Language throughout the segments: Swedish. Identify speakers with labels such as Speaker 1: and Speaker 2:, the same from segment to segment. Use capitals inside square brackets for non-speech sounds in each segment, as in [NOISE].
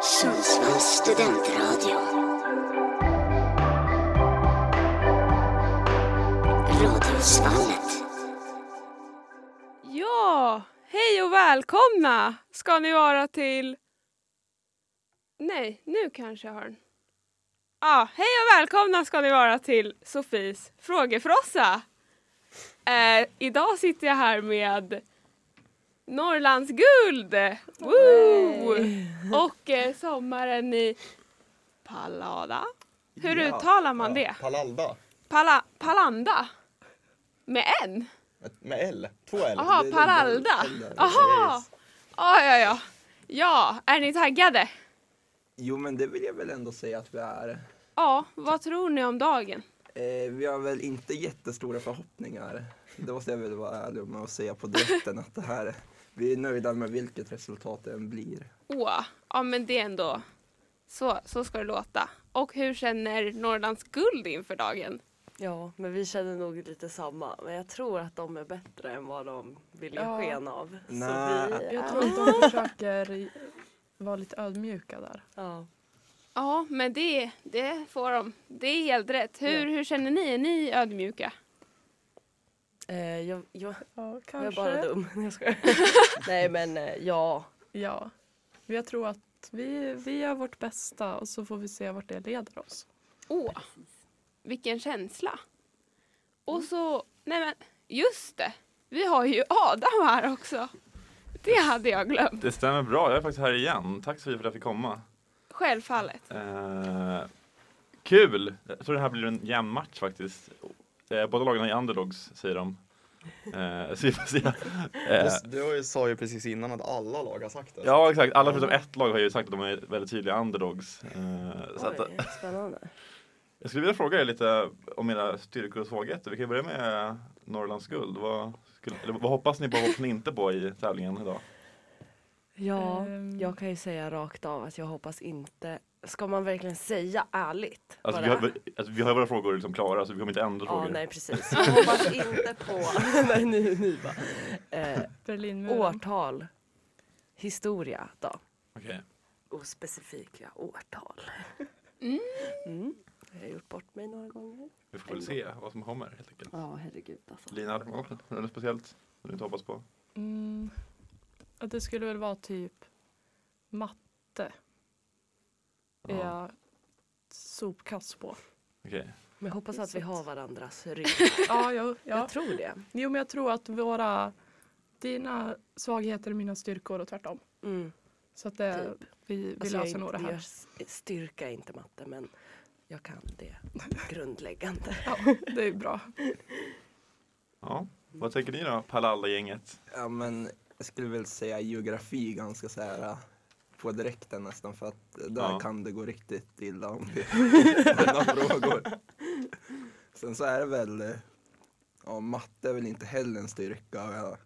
Speaker 1: Sundsvalls studentradio. Radiosvallet.
Speaker 2: Ja, hej och välkomna ska ni vara till... Nej, nu kanske jag har den. Ja, hej och välkomna ska ni vara till Sofis frågefrossa. Eh, idag sitter jag här med Norrlands guld Woo! och eh, sommaren i Pallada. Hur
Speaker 3: Ja.
Speaker 2: uttalar man det?
Speaker 3: Palalda.
Speaker 2: Pala, Palanda? Med N?
Speaker 3: Med- Med L. Två L.
Speaker 2: Jaha,
Speaker 3: Det är
Speaker 2: Paralda.
Speaker 3: den där.
Speaker 2: Jaha!
Speaker 3: Yes.
Speaker 2: Ja, ja, ja. Ja, är ni taggade?
Speaker 3: Jo, men det vill jag väl ändå säga att vi är.
Speaker 2: Ja, vad tror ni om dagen?
Speaker 3: Eh, vi har väl inte jättestora förhoppningar. Det måste jag väl vara ärlig med att säga på direkten att det här, vi är nöjda med vilket resultat det än blir.
Speaker 2: Åh, ja men det är ändå... Så, så ska det låta. Och hur känner Norrlands guld inför dagen?
Speaker 4: Ja, men vi känner nog lite samma. Men jag tror att de är bättre än vad de vill ge
Speaker 5: Ja.
Speaker 4: sken av. Så
Speaker 3: Nej.
Speaker 4: vi,
Speaker 5: Jag tror att de försöker vara lite ödmjuka där.
Speaker 4: ja.
Speaker 2: Ja, men det, det får de. Det är helt rätt. Hur, hur känner ni? Är ni ödmjuka?
Speaker 4: Eh, jag, jag,
Speaker 5: Ja,
Speaker 4: jag
Speaker 5: kanske.
Speaker 4: är bara dum. [LAUGHS] Nej, jag skojar. Nej, men eh, ja.
Speaker 5: Ja. Men jag tror att vi, vi gör vårt bästa och så får vi se vart det leder oss.
Speaker 2: Åh, vilken känsla. Och så, nej men, just det. Vi har ju Adam här också. Det hade jag glömt.
Speaker 6: Det stämmer bra, jag är faktiskt här igen. Tack Sofia för att jag fick komma.
Speaker 2: Självfallet.
Speaker 6: Eh, kul! Jag tror det här blir en jämn match faktiskt. Eh, båda lagen är underdogs, säger de. Eh, så vi får se. Eh,
Speaker 7: Och s- Du har ju- sa ju precis innan att alla lag har sagt det.
Speaker 6: ja, exakt. Alla förutom ett lag har ju sagt att de är väldigt tydliga underdogs. Eh, så att,
Speaker 4: Oj, spännande.
Speaker 6: jag skulle vilja fråga er lite om era styrkor och svagheter. Vi kan ju börja med Norrlands guld. Vad, skulle, eller, vad hoppas ni på och hoppas ni inte på i tävlingen idag?
Speaker 4: Ja,
Speaker 5: Ehm.
Speaker 4: jag kan ju säga rakt av att jag hoppas inte. Ska man verkligen säga ärligt?
Speaker 6: Alltså,
Speaker 4: vad
Speaker 6: vi,
Speaker 4: det
Speaker 6: har,
Speaker 4: är?
Speaker 6: vi- alltså, vi har våra frågor liksom klara så vi kommer inte ändra
Speaker 4: Ja,
Speaker 6: frågor.
Speaker 4: nej [LAUGHS] precis. Jag hoppas inte på [LAUGHS] nej, ni, ni bara. Eh,
Speaker 5: Berlinmuren.
Speaker 4: årtal, historia då.
Speaker 6: Okej.
Speaker 4: ospecifika årtal. Mm. Jag har gjort bort mig några gånger.
Speaker 6: Vi får väl se vad som kommer helt enkelt.
Speaker 4: Ja, herregud alltså.
Speaker 6: Lina, har du något speciellt som du inte hoppas på?
Speaker 5: Mm. Att det skulle väl vara typ matte. Är
Speaker 6: Ja.
Speaker 5: jag
Speaker 4: [LAUGHS]
Speaker 5: sopkass på.
Speaker 6: Okej.
Speaker 4: Men jag hoppas att vi har varandras rygg.
Speaker 5: Ja, jag, ja.
Speaker 4: [LAUGHS] Jag tror det.
Speaker 5: Jo, men jag tror att våra, dina svagheter är mina styrkor och tvärtom.
Speaker 4: Mm.
Speaker 5: Så att det, vi, vi
Speaker 4: Alltså, jag är
Speaker 5: löser nog
Speaker 4: inte-
Speaker 5: det här.
Speaker 4: Jag s- styrka är inte matte, men jag kan det grundläggande.
Speaker 5: Ja, det är bra.
Speaker 6: Ja. Vad tänker ni då, Palalla-gänget?
Speaker 3: Ja, men jag skulle väl säga geografi ganska så här äh, på direkten nästan för att äh, där
Speaker 6: Ja.
Speaker 3: kan det gå riktigt illa om vi har frågor. Sen så är det väl, eh, ja matte är väl inte heller en styrka. Jag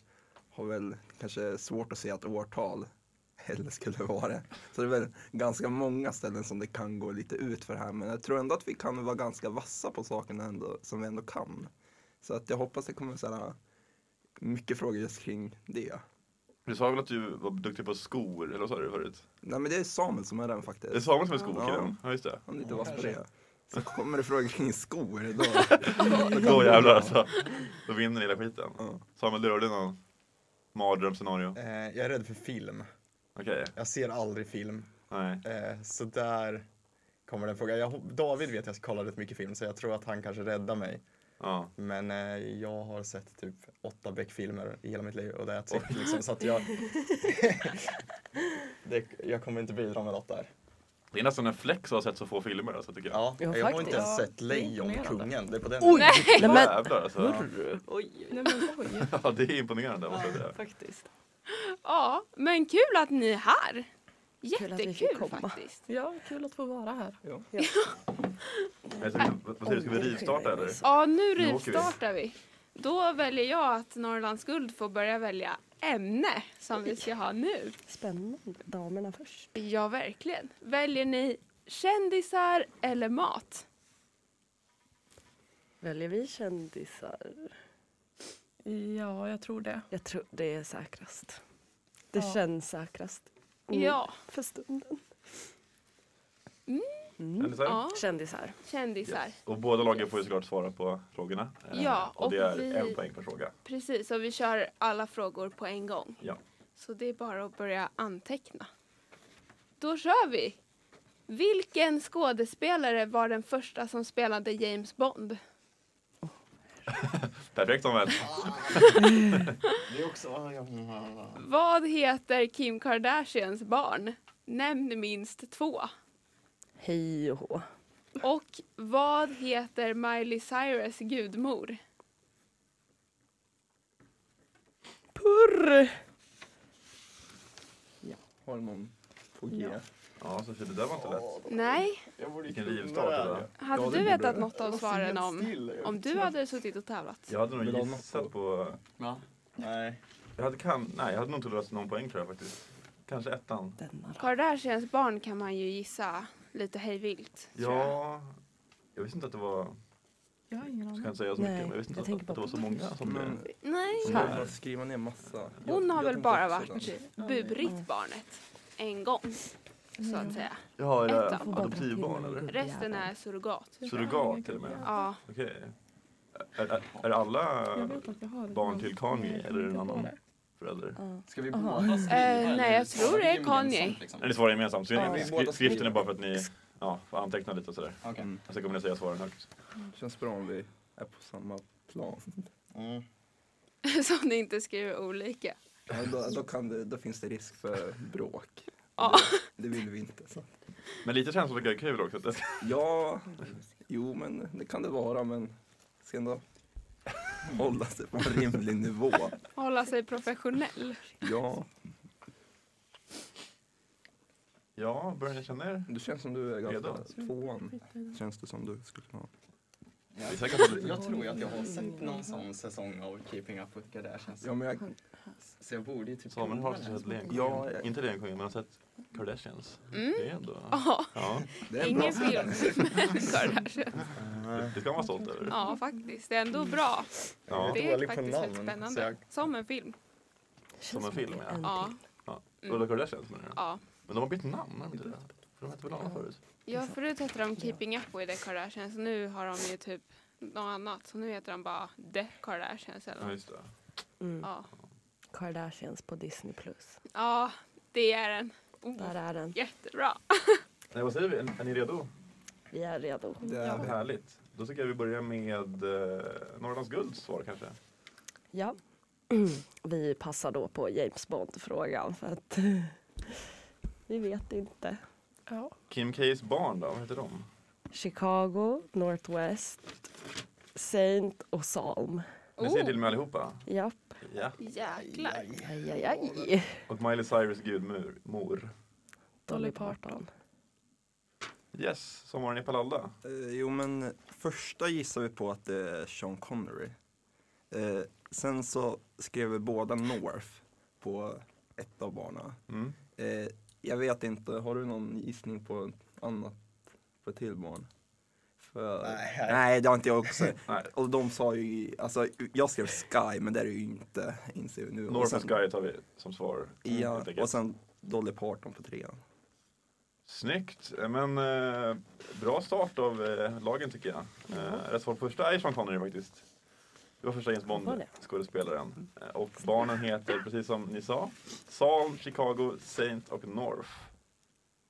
Speaker 3: har väl kanske svårt att se att årtal heller skulle vara det. Så det är väl ganska många ställen som det kan gå lite ut för här men jag tror ändå att vi kan vara ganska vassa på sakerna ändå, som vi ändå kan. Så att jag hoppas det kommer så här mycket frågor just kring det.
Speaker 6: Du sa väl att du var duktig på skor, eller vad sa du förut?
Speaker 3: Nej men det är Samuel som är den
Speaker 6: Är det
Speaker 3: faktiskt.
Speaker 6: Samuel som är skokillen?
Speaker 3: Ja.
Speaker 6: Ja, just det.
Speaker 3: Han är lite vass på det. Så kommer det frågor kring skor [LAUGHS] då.
Speaker 6: Då jävlar alltså. Då vinner hela skiten.
Speaker 3: Ja.
Speaker 6: Samuel, du har du någon mardrömsscenario?
Speaker 7: Eh, jag är rädd för film.
Speaker 6: Okej,
Speaker 7: Jag ser aldrig film.
Speaker 6: nej.
Speaker 7: Eh, så där kommer den fråga. Jag, hop- David vet jag kollar rätt mycket film så jag tror att han kanske räddar mig.
Speaker 6: Ja.
Speaker 7: Men eh, jag har sett typ åtta Beck-filmer i hela mitt liv och det är typ liksom så att jag...
Speaker 8: [LAUGHS]
Speaker 7: det, jag kommer inte bidra med något där.
Speaker 6: Det är nästan en flex att ha sett så få filmer alltså, tycker jag.
Speaker 7: Ja,
Speaker 4: Ja,
Speaker 7: jag har
Speaker 4: faktiskt.
Speaker 7: inte ens
Speaker 5: Ja,
Speaker 7: sett
Speaker 5: det är imponerande.
Speaker 7: Lejonkungen. Det är på den
Speaker 4: Oj! Nej, men,
Speaker 6: Jävlar alltså.
Speaker 4: oj,
Speaker 5: Nej, men oj.
Speaker 6: [LAUGHS] Ja, det är imponerande måste jag säga.
Speaker 4: faktiskt.
Speaker 2: Ja, men kul att ni är här.
Speaker 4: Kul att vi fick
Speaker 2: Jättekul
Speaker 4: komma.
Speaker 2: faktiskt.
Speaker 5: Ja, kul att få vara här.
Speaker 6: Jag tänkte, Vad säger du, ska vi rivstarta eller?
Speaker 2: Ja, nu
Speaker 6: Nu åker vi.
Speaker 2: rivstartar vi. Då väljer jag att Norrlands guld får börja välja ämne som vi ska ha nu.
Speaker 4: Spännande. Damerna först.
Speaker 2: Ja, verkligen. Väljer ni kändisar eller mat?
Speaker 4: Väljer vi kändisar?
Speaker 5: Ja, jag tror det.
Speaker 4: Jag tror det är säkrast. Det
Speaker 5: Ja.
Speaker 4: känns säkrast.
Speaker 2: Ja,
Speaker 4: För stunden. Mm.
Speaker 6: Eller så?
Speaker 2: Ja,
Speaker 4: Kändisar.
Speaker 2: kändisar.
Speaker 6: Yes. Och båda lagen får ju såklart svara på frågorna. Eh,
Speaker 2: Ja,
Speaker 6: och det
Speaker 2: och
Speaker 6: är
Speaker 2: vi-
Speaker 6: en poäng per fråga.
Speaker 2: Precis, och vi kör alla frågor på en gång.
Speaker 6: Ja.
Speaker 2: Så det är bara att börja anteckna. Då kör vi! Vilken skådespelare var den första som spelade James Bond?
Speaker 6: Perfekt Samuel.
Speaker 7: Det är också... ah, ja, ja, ja.
Speaker 2: Vad heter Kim Kardashians barn? Nämn minst två.
Speaker 4: Hej och hå.
Speaker 2: Och vad heter Miley Cyrus gudmor?
Speaker 4: Purr!
Speaker 3: Har någon på G?
Speaker 6: Ja, Sofie, det där var inte lätt.
Speaker 2: Nej,
Speaker 7: Jag borde ju
Speaker 6: Vilken
Speaker 7: kunna
Speaker 6: rivstart
Speaker 7: det här.
Speaker 6: det där.
Speaker 2: hade
Speaker 3: Ja, det
Speaker 2: du
Speaker 3: borde
Speaker 2: vetat
Speaker 3: jag.
Speaker 2: något av
Speaker 7: Jag var så
Speaker 2: svaren
Speaker 7: helt
Speaker 2: om,
Speaker 7: still. Jag
Speaker 2: om
Speaker 7: vet
Speaker 2: du
Speaker 7: inte.
Speaker 2: hade suttit och tävlat?
Speaker 6: Jag hade
Speaker 3: Vill du ha
Speaker 6: nog
Speaker 3: något på?
Speaker 6: gissat på...
Speaker 7: Ja. Nej.
Speaker 6: Jag hade, kan... Nej, jag hade nog inte löst någon poäng tror jag faktiskt. Kanske ettan.
Speaker 4: Denna då.
Speaker 2: Kardashians barn kan man ju gissa lite hejvilt. tror jag.
Speaker 6: Ja, jag visste inte att det var...
Speaker 5: Jag har ingen
Speaker 6: Jag
Speaker 5: aning.
Speaker 6: ska inte säga så
Speaker 4: Nej,
Speaker 6: mycket, men jag visste
Speaker 4: jag
Speaker 6: inte
Speaker 4: tänker
Speaker 6: att, att det var så
Speaker 4: bara på-
Speaker 6: många som
Speaker 3: Men-
Speaker 6: blev...
Speaker 2: Nej,
Speaker 6: som
Speaker 3: Jag
Speaker 6: blev-
Speaker 3: vill bara skriva ner massa.
Speaker 2: hon har
Speaker 3: Jag
Speaker 2: väl
Speaker 3: tänkte
Speaker 2: bara
Speaker 3: också
Speaker 2: varit
Speaker 3: den.
Speaker 2: burigt barnet en gång, så att säga.
Speaker 6: Ja, är det
Speaker 2: Ettan.
Speaker 6: eh, adoptivbarn eller?
Speaker 2: Resten är surrogat.
Speaker 6: Surrogat till och med?
Speaker 2: Ja,
Speaker 6: Okej. Är, är, är alla
Speaker 5: Jag vet att jag har ett
Speaker 6: barn till Kanye
Speaker 5: men jag
Speaker 6: eller
Speaker 5: kommer
Speaker 6: en
Speaker 5: inte ihåg
Speaker 6: annan
Speaker 5: det.
Speaker 6: förälder?
Speaker 8: Ska vi
Speaker 4: Aha.
Speaker 8: båda skriva?
Speaker 2: Eh,
Speaker 8: eller
Speaker 2: nej, jag
Speaker 8: svarar
Speaker 2: tror
Speaker 8: vi
Speaker 2: det är
Speaker 8: gemensamt,
Speaker 2: Kanye.
Speaker 8: liksom?
Speaker 6: Eller ni svarar gemensamt, så
Speaker 4: Ja.
Speaker 6: ni- skri- skriften är bara för att ni ja, får anteckna lite och sådär.
Speaker 8: Okej.
Speaker 3: Mm.
Speaker 6: Och sen kommer ni säga svaren högt.
Speaker 3: Känns bra om vi är på samma plan.
Speaker 7: Mm.
Speaker 2: [LAUGHS] så ni inte skriver olika.
Speaker 3: Ja, då, då, kan det, då finns det risk för bråk.
Speaker 2: Ja.
Speaker 3: Det, det vill vi inte. Så.
Speaker 6: Men lite känns som att det är kul också. att det ska-
Speaker 3: Ja, jo men det kan det vara men ska ändå hålla sig på en rimlig nivå.
Speaker 2: Hålla sig professionell.
Speaker 3: Ja,
Speaker 6: Ja, börjar ni känna er?
Speaker 3: du känns som du är ganska
Speaker 6: Redan.
Speaker 3: tvåan. Känns det som du skulle kunna ha.
Speaker 8: Ja.
Speaker 6: Det är säkert lite-
Speaker 8: Jag tror ju att jag har sett någon sån säsong av Keeping Up With Kardashians.
Speaker 3: Ja, men jag,
Speaker 8: Så jag borde ju typ...
Speaker 6: Samuel har också
Speaker 8: kunna
Speaker 6: sett
Speaker 8: den här.
Speaker 6: Lejonkungen.
Speaker 3: Ja, jag-
Speaker 6: Inte Lejonkungen, men han har sett Kardashians. Det är ändå...
Speaker 2: Mm. Ja,
Speaker 6: Ja,
Speaker 3: det är en bra
Speaker 2: ingen film. Kardashian.
Speaker 6: det det ska man vara stolt över.
Speaker 2: Ja, Mm. faktiskt. Det är ändå bra.
Speaker 6: Ja.
Speaker 2: Det är
Speaker 7: Dålig på
Speaker 2: faktiskt
Speaker 7: namn,
Speaker 2: väldigt
Speaker 7: så
Speaker 2: spännande.
Speaker 7: jag-
Speaker 2: Som en film.
Speaker 6: Som en film, ja.
Speaker 2: Ja,
Speaker 6: Ulla Kardashians menar du?
Speaker 2: ja.
Speaker 6: Men de har bytt namn, har de inte det? För de hette väl annat förut?
Speaker 2: ja förut hette de Keeping Up With The Kardashians. Så nu har de ju typ något annat. Så nu heter de bara The Kardashians eller
Speaker 6: Ja,
Speaker 2: något.
Speaker 6: just det.
Speaker 4: Mm.
Speaker 2: Ja,
Speaker 4: Kardashians på Disney+. Plus.
Speaker 2: ja det är den. Oh,
Speaker 4: Där är den.
Speaker 2: jättebra.
Speaker 6: Nej, vad säger vi? Är är ni redo?
Speaker 4: Vi är redo.
Speaker 3: det är det.
Speaker 6: Härligt. Då tycker jag vi börjar med eh, Norrlands Gulds svar kanske.
Speaker 4: Ja. [CLEARS THROAT] Vi passar då på James Bond-frågan för att [LAUGHS] vi vet inte.
Speaker 5: Ja.
Speaker 6: Kim Ks barn då, vad heter de?
Speaker 4: Chicago, Northwest, Saint och Salm.
Speaker 6: Ni säger
Speaker 2: Oh.
Speaker 6: till med allihopa?
Speaker 4: Japp.
Speaker 6: Ja.
Speaker 2: Jäklar.
Speaker 4: Aj, aj, aj.
Speaker 6: Och Miley Cyrus gudmor. Mor.
Speaker 5: Dolly Parton.
Speaker 6: Yes, sommaren i Palalda.
Speaker 3: Eh, Jo men första gissar vi på att det är Sean Connery. Eh, sen så skrev vi båda North på ett av barnen.
Speaker 6: Mm.
Speaker 3: Eh, jag vet inte, har du någon gissning på ett annat, på ett till barn? För,
Speaker 7: Nej.
Speaker 3: nej, det har inte jag också.
Speaker 7: [LAUGHS]
Speaker 6: Nej.
Speaker 3: Och de sa ju, alltså jag skrev Sky, men det är det ju inte, inser vi nu.
Speaker 6: North
Speaker 3: och
Speaker 6: and
Speaker 3: sen,
Speaker 6: Sky tar vi som svar. Mm,
Speaker 3: ja,
Speaker 6: helt enkelt.
Speaker 3: och sen Dolly Parton på trean.
Speaker 6: Snyggt, Eh, men eh, bra start av eh, lagen tycker jag.
Speaker 3: Mm.
Speaker 6: Eh, rätt svar på första är Sean Connery faktiskt. Det var första James
Speaker 4: Var det?
Speaker 3: Mm.
Speaker 6: Bond-skådespelaren. Eh, och barnen heter, precis som ni sa, Salm, Chicago, Saint och North.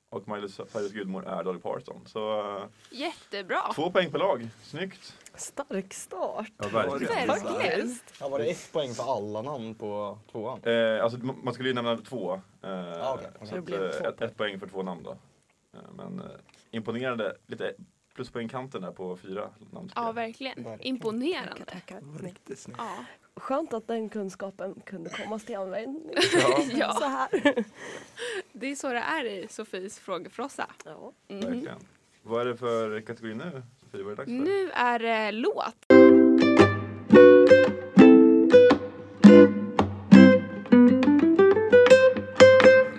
Speaker 6: Och Miley Cyrus gudmor är Dolly Parton. Så eh,
Speaker 2: Jättebra.
Speaker 6: två poäng per lag, snyggt.
Speaker 4: Stark start.
Speaker 6: Ja,
Speaker 2: Verkligen.
Speaker 7: Ja, var det ett poäng för alla namn på tvåan?
Speaker 6: Eh, alltså, ma- man skulle ju nämna två. Eh,
Speaker 7: okej.
Speaker 6: så
Speaker 4: Så det
Speaker 6: att,
Speaker 4: blev
Speaker 6: eh,
Speaker 4: två
Speaker 6: ett, ett poäng för två namn då. Eh, men eh, imponerande, lite pluspoängkanten där på fyra namn. tycker
Speaker 2: Ja,
Speaker 6: jag.
Speaker 2: verkligen.
Speaker 7: Verkligen.
Speaker 4: Tackar,
Speaker 2: Imponerande.
Speaker 4: tackar.
Speaker 3: Det var riktigt snyggt.
Speaker 2: Ja.
Speaker 4: Skönt att den kunskapen kunde komma till användning
Speaker 2: Ja.
Speaker 4: [LAUGHS] så här.
Speaker 2: Det är så det är i Sofies frågefrossa.
Speaker 4: Ja.
Speaker 2: Mm.
Speaker 6: Verkligen. Vad är det för kategori nu? Sofie, vad är det dags för?
Speaker 2: Nu är det låt.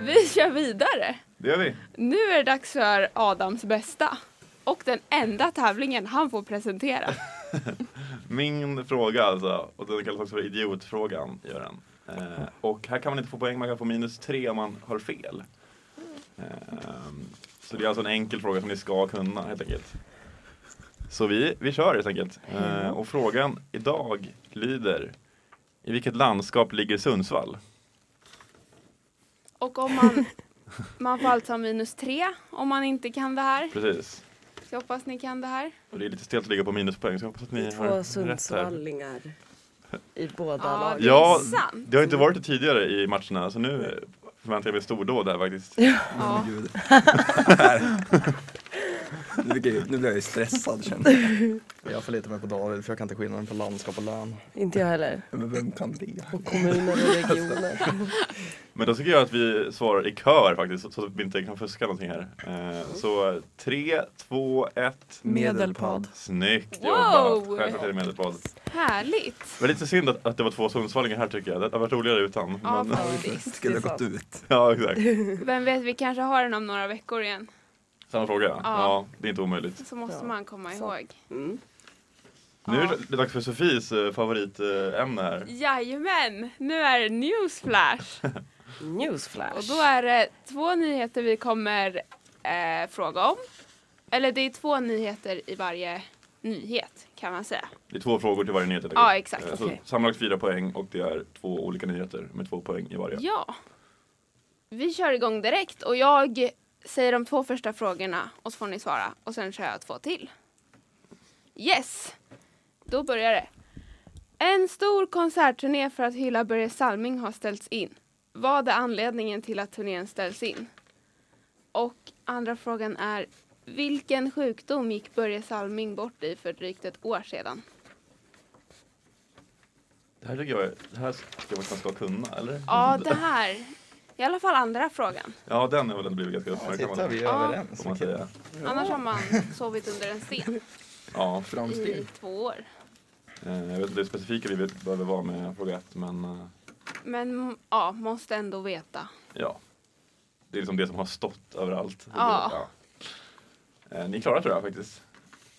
Speaker 2: Vi kör vidare.
Speaker 6: Det gör vi.
Speaker 2: Nu är det dags för Adams bästa. Och den enda tävlingen han får presentera.
Speaker 6: Min fråga alltså, och den kallas också för idiotfrågan, gör den. Eh, och här kan man inte få poäng, man kan få minus tre om man har fel. Eh, Så det är alltså en enkel fråga som ni ska kunna helt enkelt. Så vi, vi kör helt enkelt. Eh, och frågan idag lyder I vilket landskap ligger Sundsvall?
Speaker 2: Och om man... Man får alltså ha minus tre om man inte kan det här.
Speaker 6: Precis.
Speaker 2: Så jag hoppas ni kan det här.
Speaker 6: Och det är lite stelt att ligga på minuspoäng så jag hoppas att ni har
Speaker 4: Två
Speaker 6: rätt här.
Speaker 4: Sundsvallingar i båda
Speaker 2: Ja,
Speaker 4: lagen.
Speaker 2: det
Speaker 6: Ja.
Speaker 2: är sant.
Speaker 6: Det har inte varit det tidigare i matcherna så nu eh, förväntar jag mig stordåd här faktiskt.
Speaker 2: Ja.
Speaker 3: Gud. [LAUGHS] nu, blir jag, nu blir jag ju stressad känner jag.
Speaker 7: [LAUGHS] Jag förlitar mig på David för jag kan inte skillnaden på landskap och län.
Speaker 4: Inte jag heller.
Speaker 3: Men vem kan det?
Speaker 4: Och kommuner och [LAUGHS] regioner.
Speaker 6: Men då tycker jag att vi svarar i kör faktiskt så- så att vi inte kan fuska någonting här. Eh, så 3, 2, 1.
Speaker 5: Medelpad.
Speaker 6: Snyggt
Speaker 2: Wow!
Speaker 6: jobbat! Självklart är det medelpad.
Speaker 2: Härligt.
Speaker 6: Det var lite synd att, att det var två Sundsvallingar här tycker jag. Det hade varit roligare utan.
Speaker 2: Ja,
Speaker 6: men, [LAUGHS]
Speaker 2: faktiskt.
Speaker 3: Skulle ha
Speaker 4: Det är
Speaker 3: gått ut.
Speaker 6: ja exakt.
Speaker 2: Vem vet, vi kanske har den om några veckor igen.
Speaker 6: Samma fråga. Ja. det är inte omöjligt.
Speaker 2: Så måste man komma ihåg.
Speaker 4: Mm.
Speaker 6: Nu är det dags för Sofies eh, favoritämne här.
Speaker 2: Jajamän, nu är det newsflash.
Speaker 4: Newsflash.
Speaker 2: Och då är det två nyheter vi kommer eh, fråga om. Eller det är två nyheter i varje nyhet kan man säga.
Speaker 6: Det är två frågor till varje nyhet. helt
Speaker 2: Ja,
Speaker 6: enkelt.
Speaker 2: exakt.
Speaker 6: Eh, Så
Speaker 4: Okej.
Speaker 6: Sammanlagt fyra poäng och det är två olika nyheter med två poäng i varje.
Speaker 2: Ja. Vi kör igång direkt och jag säger de två första frågorna och så får ni svara och sen kör jag två till. Yes! Då börjar det. En stor konsertturné för att hylla Börje Salming har ställts in. Vad är anledningen till att turnén ställs in? Och andra frågan är vilken sjukdom gick Börje Salming bort i för drygt ett år sedan?
Speaker 6: Det här tycker jag det här ska man kanske kunna, eller?
Speaker 2: Ja, det här. I alla fall andra frågan.
Speaker 6: Ja, den har väl blivit ganska
Speaker 7: Titta,
Speaker 6: uppmärksammad.
Speaker 7: vi är
Speaker 2: Ja.
Speaker 7: överens.
Speaker 6: Får man
Speaker 7: Okej.
Speaker 6: säga.
Speaker 2: Annars har man sovit under en sten.
Speaker 6: Ja,
Speaker 2: i
Speaker 3: Framsteg.
Speaker 2: två år.
Speaker 6: eh, jag vet inte hur specifika vi vet- behöver vara med fråga ett, men eh,
Speaker 2: Men m- ja, måste ändå veta.
Speaker 6: ja. Det är liksom det som har stått överallt.
Speaker 2: Ja.
Speaker 6: Ja. Eh, Ni klarar tror jag faktiskt.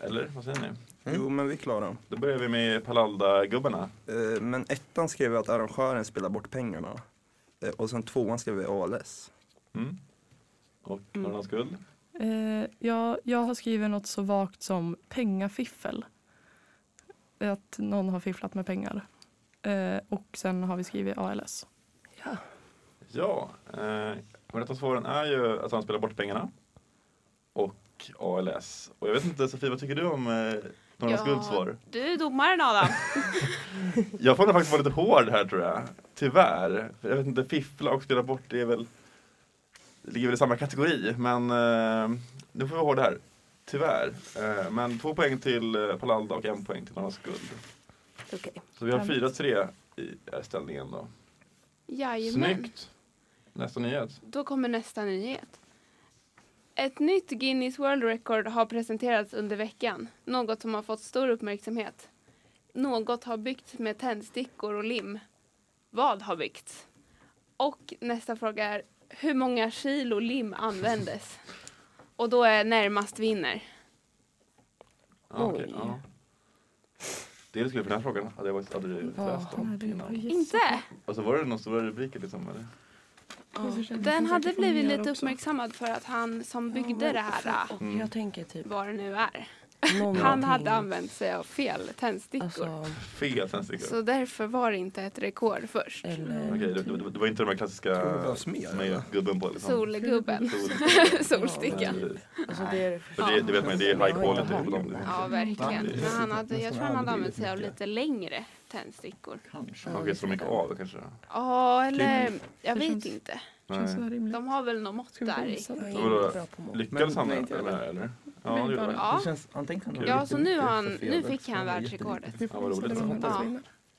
Speaker 6: Eller vad säger ni?
Speaker 7: Mm.
Speaker 3: Jo men vi klarar dem.
Speaker 6: Då börjar vi med Palalda-gubbarna.
Speaker 3: Eh, Men ettan skrev att arrangören spelar bort pengarna. Eh, Och sen tvåan skrev vi ALS.
Speaker 6: Mm. Och
Speaker 2: Mm.
Speaker 6: har du någon skuld?
Speaker 5: Eh, jag, jag har skrivit något så vagt som pengafiffel. Att någon har fifflat med pengar. Eh, och sen har vi skrivit ALS.
Speaker 6: Ja, eh, och rätta svaren är ju att han spelar bort pengarna och ALS. Och jag vet inte, Sofie, vad tycker du om eh, några
Speaker 2: Ja,
Speaker 6: skulds svar?
Speaker 2: Du är domaren Adam.
Speaker 6: Jag får nog faktiskt vara lite hård här tror jag. Tyvärr. För Jag vet inte, fiffla och spela bort det är väl det ligger väl i samma kategori. Men eh, nu får vi vara hårda här. Tyvärr. Eh, men två poäng till eh, Palalda och en poäng till Norra Skuld.
Speaker 4: Okej.
Speaker 6: Så vi har 4-3 i eh, ställningen då.
Speaker 2: Jajamän.
Speaker 6: Snyggt! Nästa nyhet.
Speaker 2: Då kommer nästa nyhet. Ett nytt Guinness World Record har presenterats under veckan. Något som har fått stor uppmärksamhet. Något har byggts med tändstickor och lim. Vad har byggts? Och nästa fråga är hur många kilo lim användes? Och då är närmast vinner.
Speaker 6: Ja, Ah, okej,
Speaker 4: Oj.
Speaker 6: ja. Det du skulle för den här frågan hade jag faktiskt aldrig läst om innan.
Speaker 2: Inte?
Speaker 6: Och så var det några stora rubriker liksom. Eller?
Speaker 4: Mm,
Speaker 2: Den hade blivit lite uppmärksammad för att han som byggde det här, äh,
Speaker 6: Mm.
Speaker 4: Jag tänker typ
Speaker 2: vad det nu är,
Speaker 4: någonting.
Speaker 2: han hade använt sig av fel tändstickor.
Speaker 4: Alltså,
Speaker 6: Fel tändstickor.
Speaker 2: Så därför var det inte ett rekord först.
Speaker 4: eller...
Speaker 2: Mm.
Speaker 6: Okej, det, det, det var inte de här
Speaker 3: Tror det
Speaker 6: klassiska
Speaker 3: behövs mer,
Speaker 6: som är
Speaker 3: eller?
Speaker 6: gubben på liksom.
Speaker 2: Solgubben.
Speaker 4: [LAUGHS]
Speaker 6: Sol.
Speaker 2: Solsticka.
Speaker 6: Precis.
Speaker 4: Alltså, det är...
Speaker 6: För det, det vet man ju, det är high quality på dem. liksom.
Speaker 2: Ja, verkligen. Men han hade, jag tror han hade använt sig av lite längre tändstickor.
Speaker 6: Okej, så de gick av kanske?
Speaker 2: Ja, eller jag vet inte.
Speaker 6: Nej.
Speaker 2: De har väl något mått där i.
Speaker 4: Jag
Speaker 6: Men vadå?
Speaker 4: är bra på mål.
Speaker 6: Lyckades han
Speaker 3: Men-
Speaker 6: med det här, eller? Ja, det gjorde han.
Speaker 2: Ja,
Speaker 3: Det känns, han tänkte han
Speaker 2: ja så nu, har han, nu fick han världsrekordet.
Speaker 6: Ja, vad roligt.
Speaker 2: Ja,
Speaker 7: Ja,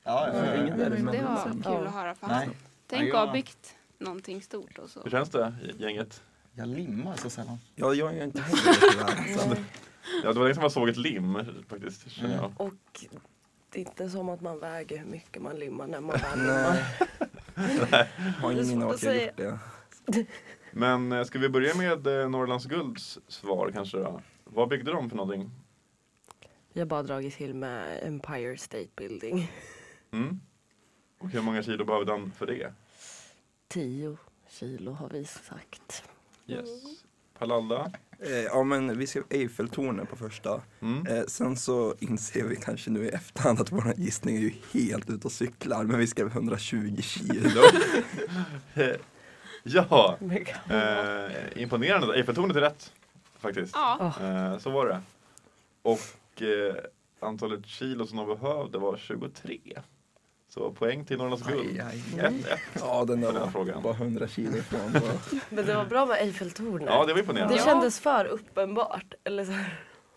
Speaker 7: ja, ja, ja.
Speaker 2: det var kul att höra
Speaker 7: Nej.
Speaker 2: fast. Tänk att ha byggt någonting stort och så.
Speaker 6: Hur känns det, gänget?
Speaker 7: Jag limmar så sällan.
Speaker 3: Ja, jag är inte heller
Speaker 2: [LAUGHS]
Speaker 3: tyvärr. Så att-
Speaker 6: Ja, det var länge sedan man såg ett lim faktiskt, känner
Speaker 3: Mm.
Speaker 6: jag.
Speaker 4: Och det är inte som att man väger hur mycket man limmar när man väl
Speaker 2: [LAUGHS]
Speaker 3: Nej.
Speaker 4: limmar.
Speaker 3: eh, Har ingen
Speaker 4: Det
Speaker 3: minne
Speaker 4: är svårt
Speaker 3: vart
Speaker 4: att
Speaker 3: jag
Speaker 4: säga.
Speaker 3: gjort det.
Speaker 6: Men eh, ska vi börja med eh, Norrlands Gulds svar kanske då? Vad byggde de för någonting?
Speaker 4: Jag har bara dragit till med Empire State Building.
Speaker 6: Mm? Och hur många kilo behövde han för det?
Speaker 4: 10 kilo har vi sagt.
Speaker 6: Yes. Palanda.
Speaker 3: Eh, ja men vi skrev Eiffeltornet på första.
Speaker 6: Mm.
Speaker 3: Eh, sen så inser vi kanske nu i efterhand att våra gissning är ju helt ute och cyklar. Men vi skrev 120 kilo. Eh.
Speaker 6: [LAUGHS] Ja, eh, imponerande. Eiffeltornet är rätt faktiskt.
Speaker 2: Ja,
Speaker 6: Eh, så var det. Och eh, antalet kilo som de behövde var 23. Så poäng till Norrlands guld. Ett, ett
Speaker 3: ja den där
Speaker 6: för den
Speaker 3: var
Speaker 6: frågan.
Speaker 3: bara 100 kilo ifrån. bara.
Speaker 4: Men det var bra med Eiffeltornet.
Speaker 6: Ja, det var
Speaker 4: Det
Speaker 6: imponerande.
Speaker 2: Ja.
Speaker 4: kändes för uppenbart. Eller så.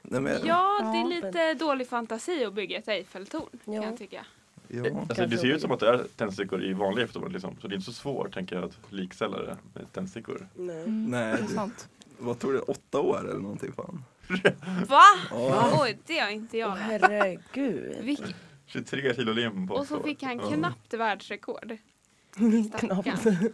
Speaker 3: Nej, men,
Speaker 2: ja det är lite dålig fantasi att bygga ett Eiffeltorn
Speaker 4: Ja.
Speaker 2: kan jag tycka.
Speaker 6: Eh,
Speaker 3: ja.
Speaker 6: Alltså, det ser ju ut som att det är tändstickor i vanliga Eiffeltornet liksom. Så det är inte så svårt tänker jag att likställa det med tändstickor.
Speaker 4: Nej.
Speaker 5: Mm,
Speaker 3: Nej,
Speaker 5: det är
Speaker 3: du-
Speaker 5: sant.
Speaker 3: Vad tog det? Åtta år eller någonting fan?
Speaker 2: Va?
Speaker 3: Ja.
Speaker 2: Oj, det har inte
Speaker 4: Åh
Speaker 2: jag lärt.
Speaker 4: herregud.
Speaker 2: Vilk-
Speaker 6: 23 kilo lim på
Speaker 2: Och
Speaker 6: åtta
Speaker 2: så
Speaker 6: år.
Speaker 2: fick han
Speaker 6: Ja.
Speaker 2: knappt världsrekord.
Speaker 4: [LAUGHS] Knappt.
Speaker 2: Stackarn.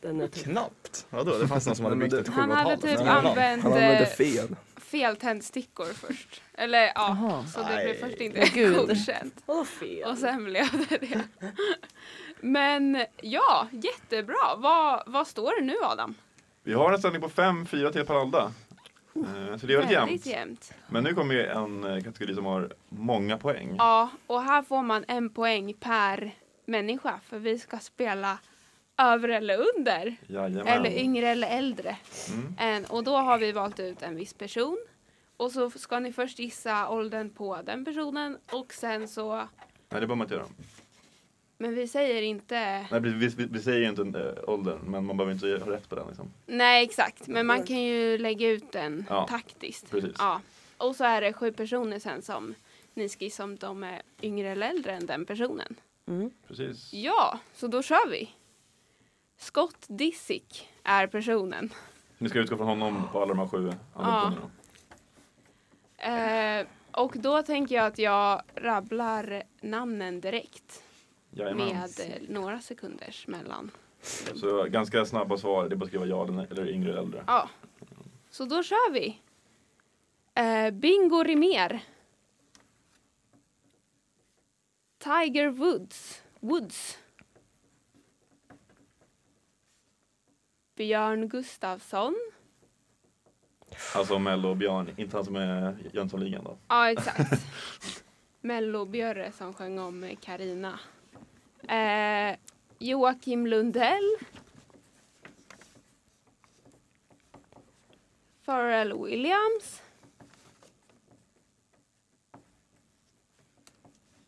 Speaker 4: Den är tuff.
Speaker 7: Knappt? Vadå, det fanns någon som hade
Speaker 3: Nej, men
Speaker 7: byggt ett
Speaker 3: det-
Speaker 7: 7,5.
Speaker 2: Han hade typ
Speaker 3: Nej.
Speaker 2: använt
Speaker 3: Han använde
Speaker 2: eh,
Speaker 3: fel.
Speaker 2: fel tändstickor först. Eller ja,
Speaker 4: Jaha.
Speaker 2: så det blev
Speaker 7: Nej.
Speaker 2: först inte
Speaker 4: Åh, gud.
Speaker 2: godkänt.
Speaker 4: Åh fel.
Speaker 2: Och sen blev det det. Men ja, jättebra. Vad, vad står det nu Adam?
Speaker 6: Vi har en ställning på 5-4 till Palanda. Eh, Så det är väldigt jämnt.
Speaker 2: jämnt.
Speaker 6: Men nu kommer ju en eh, kategori som har många poäng.
Speaker 2: Ja, och här får man en poäng per människa för vi ska spela över eller under.
Speaker 6: Jajamän.
Speaker 2: Eller yngre eller äldre.
Speaker 6: Mm.
Speaker 2: En, och då har vi valt ut en viss person. Och så ska ni först gissa åldern på den personen och sen så,
Speaker 6: Nej, det behöver man inte göra.
Speaker 2: men vi säger inte
Speaker 6: Nej, vi, vi, vi säger ju inte äh, åldern, men man behöver inte ha rätt på den. Liksom.
Speaker 2: Nej, exakt. Men man kan ju lägga ut den
Speaker 6: Ja,
Speaker 2: taktiskt.
Speaker 6: precis.
Speaker 2: Ja. Och så är det sju personer sen som ni ska gissa om de är yngre eller äldre än den personen.
Speaker 6: Precis.
Speaker 2: Ja, så då kör vi. Scott Disick är personen.
Speaker 6: Ni ska utgå från honom på alla de här sju andra
Speaker 2: Ja.
Speaker 6: personerna.
Speaker 2: Eh, och då tänker jag att jag rabblar namnen direkt
Speaker 6: Jajamän.
Speaker 2: med eh, några sekunders mellan.
Speaker 6: Så ganska snabba svar, det är bara att skriva ja eller nej, eller yngre eller äldre.
Speaker 2: Ja, så då kör vi. Eh, Bingo Rimér. Tiger Woods. Woods. Björn Gustafsson.
Speaker 6: Alltså Mello och Björn, inte han som är Jönssonligan då.
Speaker 2: Ja, exakt. Mellobjörre som sjöng om Karina. Eh, Joakim Lundell. Pharrell Williams.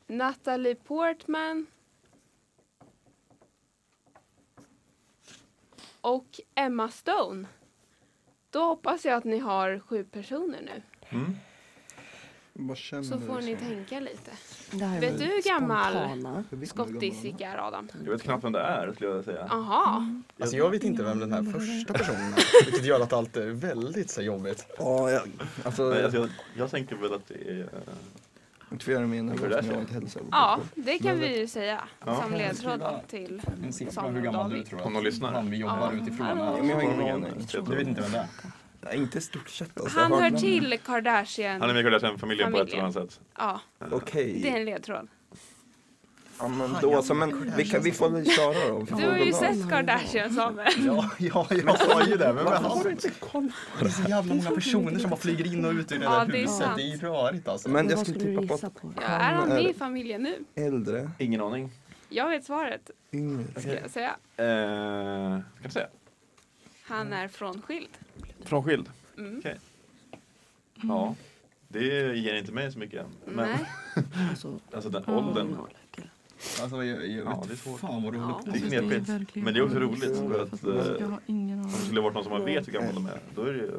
Speaker 2: Natalie Portman. Och Emma Stone. Då hoppas jag att ni har sju personer nu.
Speaker 6: Mm.
Speaker 3: Vad känner
Speaker 2: Så får
Speaker 3: du
Speaker 2: ni
Speaker 3: som-
Speaker 2: tänka lite.
Speaker 4: Det här
Speaker 2: Vet
Speaker 4: var
Speaker 2: du hur gammal-
Speaker 4: spontana.
Speaker 3: Jag vet inte hur gammal han är.
Speaker 2: Skottisickar Adam.
Speaker 6: Jag vet knappt vem det är skulle jag säga.
Speaker 2: Jaha.
Speaker 7: Alltså jag vet inte vem den här första personen är, [LAUGHS] vilket gör att allt är väldigt så jobbigt.
Speaker 3: Ja, jag, alltså,
Speaker 6: Nej,
Speaker 3: jag
Speaker 6: alltså jag, jag tänker väl att det är... eh,
Speaker 3: tvivlar mer än
Speaker 6: Hur det
Speaker 3: vad som
Speaker 6: är.
Speaker 3: jag inte heller säger.
Speaker 2: Ja, det kan vi ju säga
Speaker 6: Ja.
Speaker 2: som ledtråd till.
Speaker 7: En
Speaker 2: siffra på hur gammal du tror
Speaker 6: Om någon lyssnar.
Speaker 7: Han vi
Speaker 2: jobbar
Speaker 7: jobbar
Speaker 2: Ja. utifrån
Speaker 7: utifrån.
Speaker 2: här.
Speaker 3: Men jag har ingen
Speaker 6: Ingen-
Speaker 3: aning.
Speaker 6: jag
Speaker 7: Du
Speaker 6: tror-
Speaker 7: vet inte vem det är?
Speaker 3: Nej, inte i stort sett alltså.
Speaker 2: Han
Speaker 3: Jag har
Speaker 2: hör
Speaker 3: någon-
Speaker 2: till
Speaker 6: Han är
Speaker 2: Kardashian.
Speaker 6: med i Kardashian-familjen på ett eller annat sätt.
Speaker 2: Ja,
Speaker 3: Okej.
Speaker 2: det är en ledtråd.
Speaker 3: Ja, men då så, men vi, kan, vi får väl köra då.
Speaker 2: Du har ju sett Kardashian Samuel.
Speaker 7: Ja, ja, jag sa ju det. Vem är
Speaker 3: Varför
Speaker 7: han?
Speaker 3: har du inte koll?
Speaker 7: Det är så jävla många personer som bara flyger in och ut ur det
Speaker 2: Ja,
Speaker 7: där
Speaker 2: det är
Speaker 7: huset.
Speaker 2: sant.
Speaker 7: Det är rörigt alltså.
Speaker 3: Men jag
Speaker 4: Vad
Speaker 3: skulle
Speaker 4: skulle du
Speaker 3: tippa på att
Speaker 4: gissa på?
Speaker 2: Ja, är han
Speaker 3: Han
Speaker 2: med
Speaker 3: är-
Speaker 2: i familjen nu?
Speaker 3: äldre,
Speaker 6: Ingen aning.
Speaker 2: Jag vet svaret,
Speaker 3: yngre.
Speaker 2: ska jag säga.
Speaker 6: Eh, kan du säga?
Speaker 2: Han är frånskild.
Speaker 6: Frånskild?
Speaker 2: Mm.
Speaker 6: Okej. Ja. Det ger inte mig så mycket. Men
Speaker 2: Nej.
Speaker 4: Alltså,
Speaker 6: alltså den åldern.
Speaker 7: Alltså jag, jag
Speaker 6: Ja,
Speaker 7: vet
Speaker 6: det är svårt.
Speaker 7: fan vad roligt.
Speaker 2: Ja.
Speaker 6: Det är
Speaker 5: Det är
Speaker 6: knepigt.
Speaker 5: verkligen
Speaker 6: Men det är också
Speaker 5: knepigt.
Speaker 6: roligt. För att, eh, Mm.
Speaker 5: Jag har ingen
Speaker 6: om det
Speaker 5: aning.
Speaker 6: skulle varit någon som man vet hur gammal de är, då är det ju...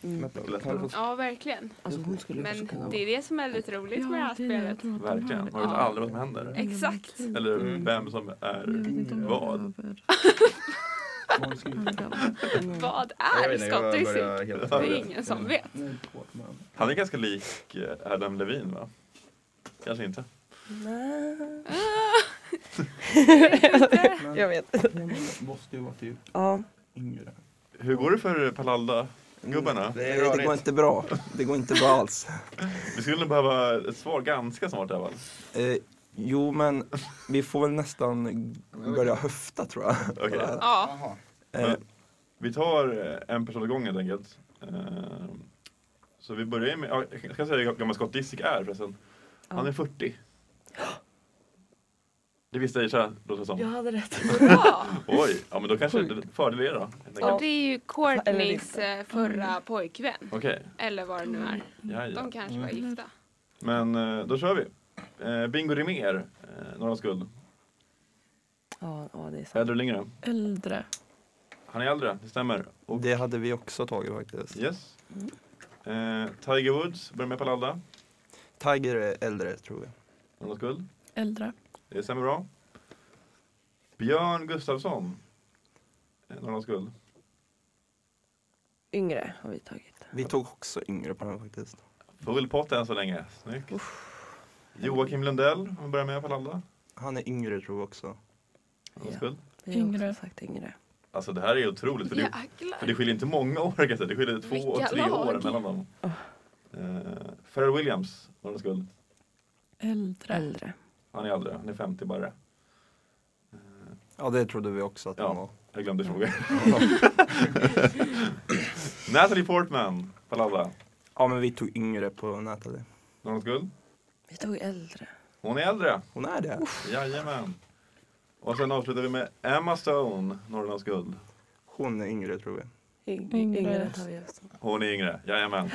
Speaker 3: Vänta, kan jag få-
Speaker 2: Ja, verkligen.
Speaker 4: Alltså hon skulle
Speaker 2: Men
Speaker 4: också kunna
Speaker 2: det är det som är lite roligt med det här
Speaker 5: Ja, det är det.
Speaker 2: spelet.
Speaker 5: Jag tror att de
Speaker 6: Verkligen.
Speaker 5: hör det.
Speaker 6: Man vet
Speaker 2: Ja.
Speaker 6: aldrig vad som händer.
Speaker 2: Exakt.
Speaker 6: Eller vem som är
Speaker 5: Jag vet inte om de
Speaker 6: vad.
Speaker 5: behöver-
Speaker 2: Vad
Speaker 7: Jag
Speaker 2: är
Speaker 7: vet inte, jag
Speaker 2: Skottisick?
Speaker 7: börjar helt-
Speaker 2: Det är ingen som vet.
Speaker 6: Han är ganska lik eh, Adam Levine va? Kanske inte.
Speaker 2: [LAUGHS]
Speaker 4: Jag vet.
Speaker 3: måste ju vara typ
Speaker 4: Ja.
Speaker 3: yngre.
Speaker 6: Hur går det för Palalla-gubbarna?
Speaker 3: Nej, det går inte bra. Det går inte bra alls.
Speaker 6: Vi skulle behöva ett svar ganska snart här va?
Speaker 3: Eh, jo, men vi får väl nästan börja höfta tror jag.
Speaker 6: Okej.
Speaker 2: Ja,
Speaker 7: Jaha.
Speaker 3: Eh,
Speaker 6: Vi tar eh, en person i gången helt enkelt. Eh, Så vi börjar ju med, ja, jag ska säga hur gammal Scott Disick är förresten. Han är 40. Det visste Aisha, låter det som.
Speaker 4: Jag hade rätt.
Speaker 6: [LAUGHS]
Speaker 2: Bra!
Speaker 6: Oj, ja men då kanske det fördel er då. helt enkelt.
Speaker 2: Och det är ju
Speaker 4: Eller
Speaker 2: Courtneys
Speaker 4: inte.
Speaker 2: eh, förra pojkvän.
Speaker 6: Okej,
Speaker 2: Eller vad det nu är.
Speaker 6: ja, ja.
Speaker 2: De kanske var
Speaker 6: Mm.
Speaker 2: gifta.
Speaker 6: Men eh, då kör vi. Eh, Bingo Rimér, eh, Norrlands guld.
Speaker 4: Ja, ja, det är sant.
Speaker 6: Äldre eller yngre?
Speaker 5: Äldre.
Speaker 6: Han är äldre, det stämmer. Och,
Speaker 3: Det hade vi också tagit faktiskt.
Speaker 6: yes. Eh, Tiger Woods, börjar med Palladda.
Speaker 3: Tiger är äldre tror jag.
Speaker 6: Norrlands guld.
Speaker 5: Äldre.
Speaker 6: Det stämmer bra. Björn Gustafsson, eh, Norrlands guld.
Speaker 4: Yngre har vi tagit.
Speaker 3: Vi tog också yngre på den faktiskt.
Speaker 6: Full pott än så länge, snyggt. Joakim Lundell, om vi börjar med Palladda.
Speaker 3: Han är yngre tror jag också.
Speaker 6: Norrlands
Speaker 4: Ja.
Speaker 6: guld.
Speaker 4: Vi har
Speaker 5: Yngre.
Speaker 4: också sagt yngre.
Speaker 6: Alltså det här är otroligt. För det, För
Speaker 2: Jäklar.
Speaker 6: det skiljer inte många år, kan jag säga. det skiljer två och
Speaker 2: Vilka
Speaker 6: tre år
Speaker 2: lag?
Speaker 6: mellan dem. Eh, Pharrell Williams, Norrlands guld.
Speaker 5: Äldre.
Speaker 4: Äldre.
Speaker 6: Han är äldre, han är 50 bara.
Speaker 3: Ja det trodde vi också att
Speaker 6: Ja.
Speaker 3: han var.
Speaker 6: Jag glömde fråga. [LAUGHS] Natalie Portman, Palladda,
Speaker 3: Ja men vi tog yngre på Natalie.
Speaker 6: Norrlands guld.
Speaker 4: Vi tog äldre.
Speaker 6: Hon är äldre,
Speaker 3: Hon är det.
Speaker 6: jajamän. Och sen avslutar vi med Emma Stone, Norrlands guld.
Speaker 3: Hon är yngre tror jag.
Speaker 4: Yngre.
Speaker 5: Yngre.
Speaker 4: yngre tar vi också.
Speaker 6: Hon är yngre, jajamän.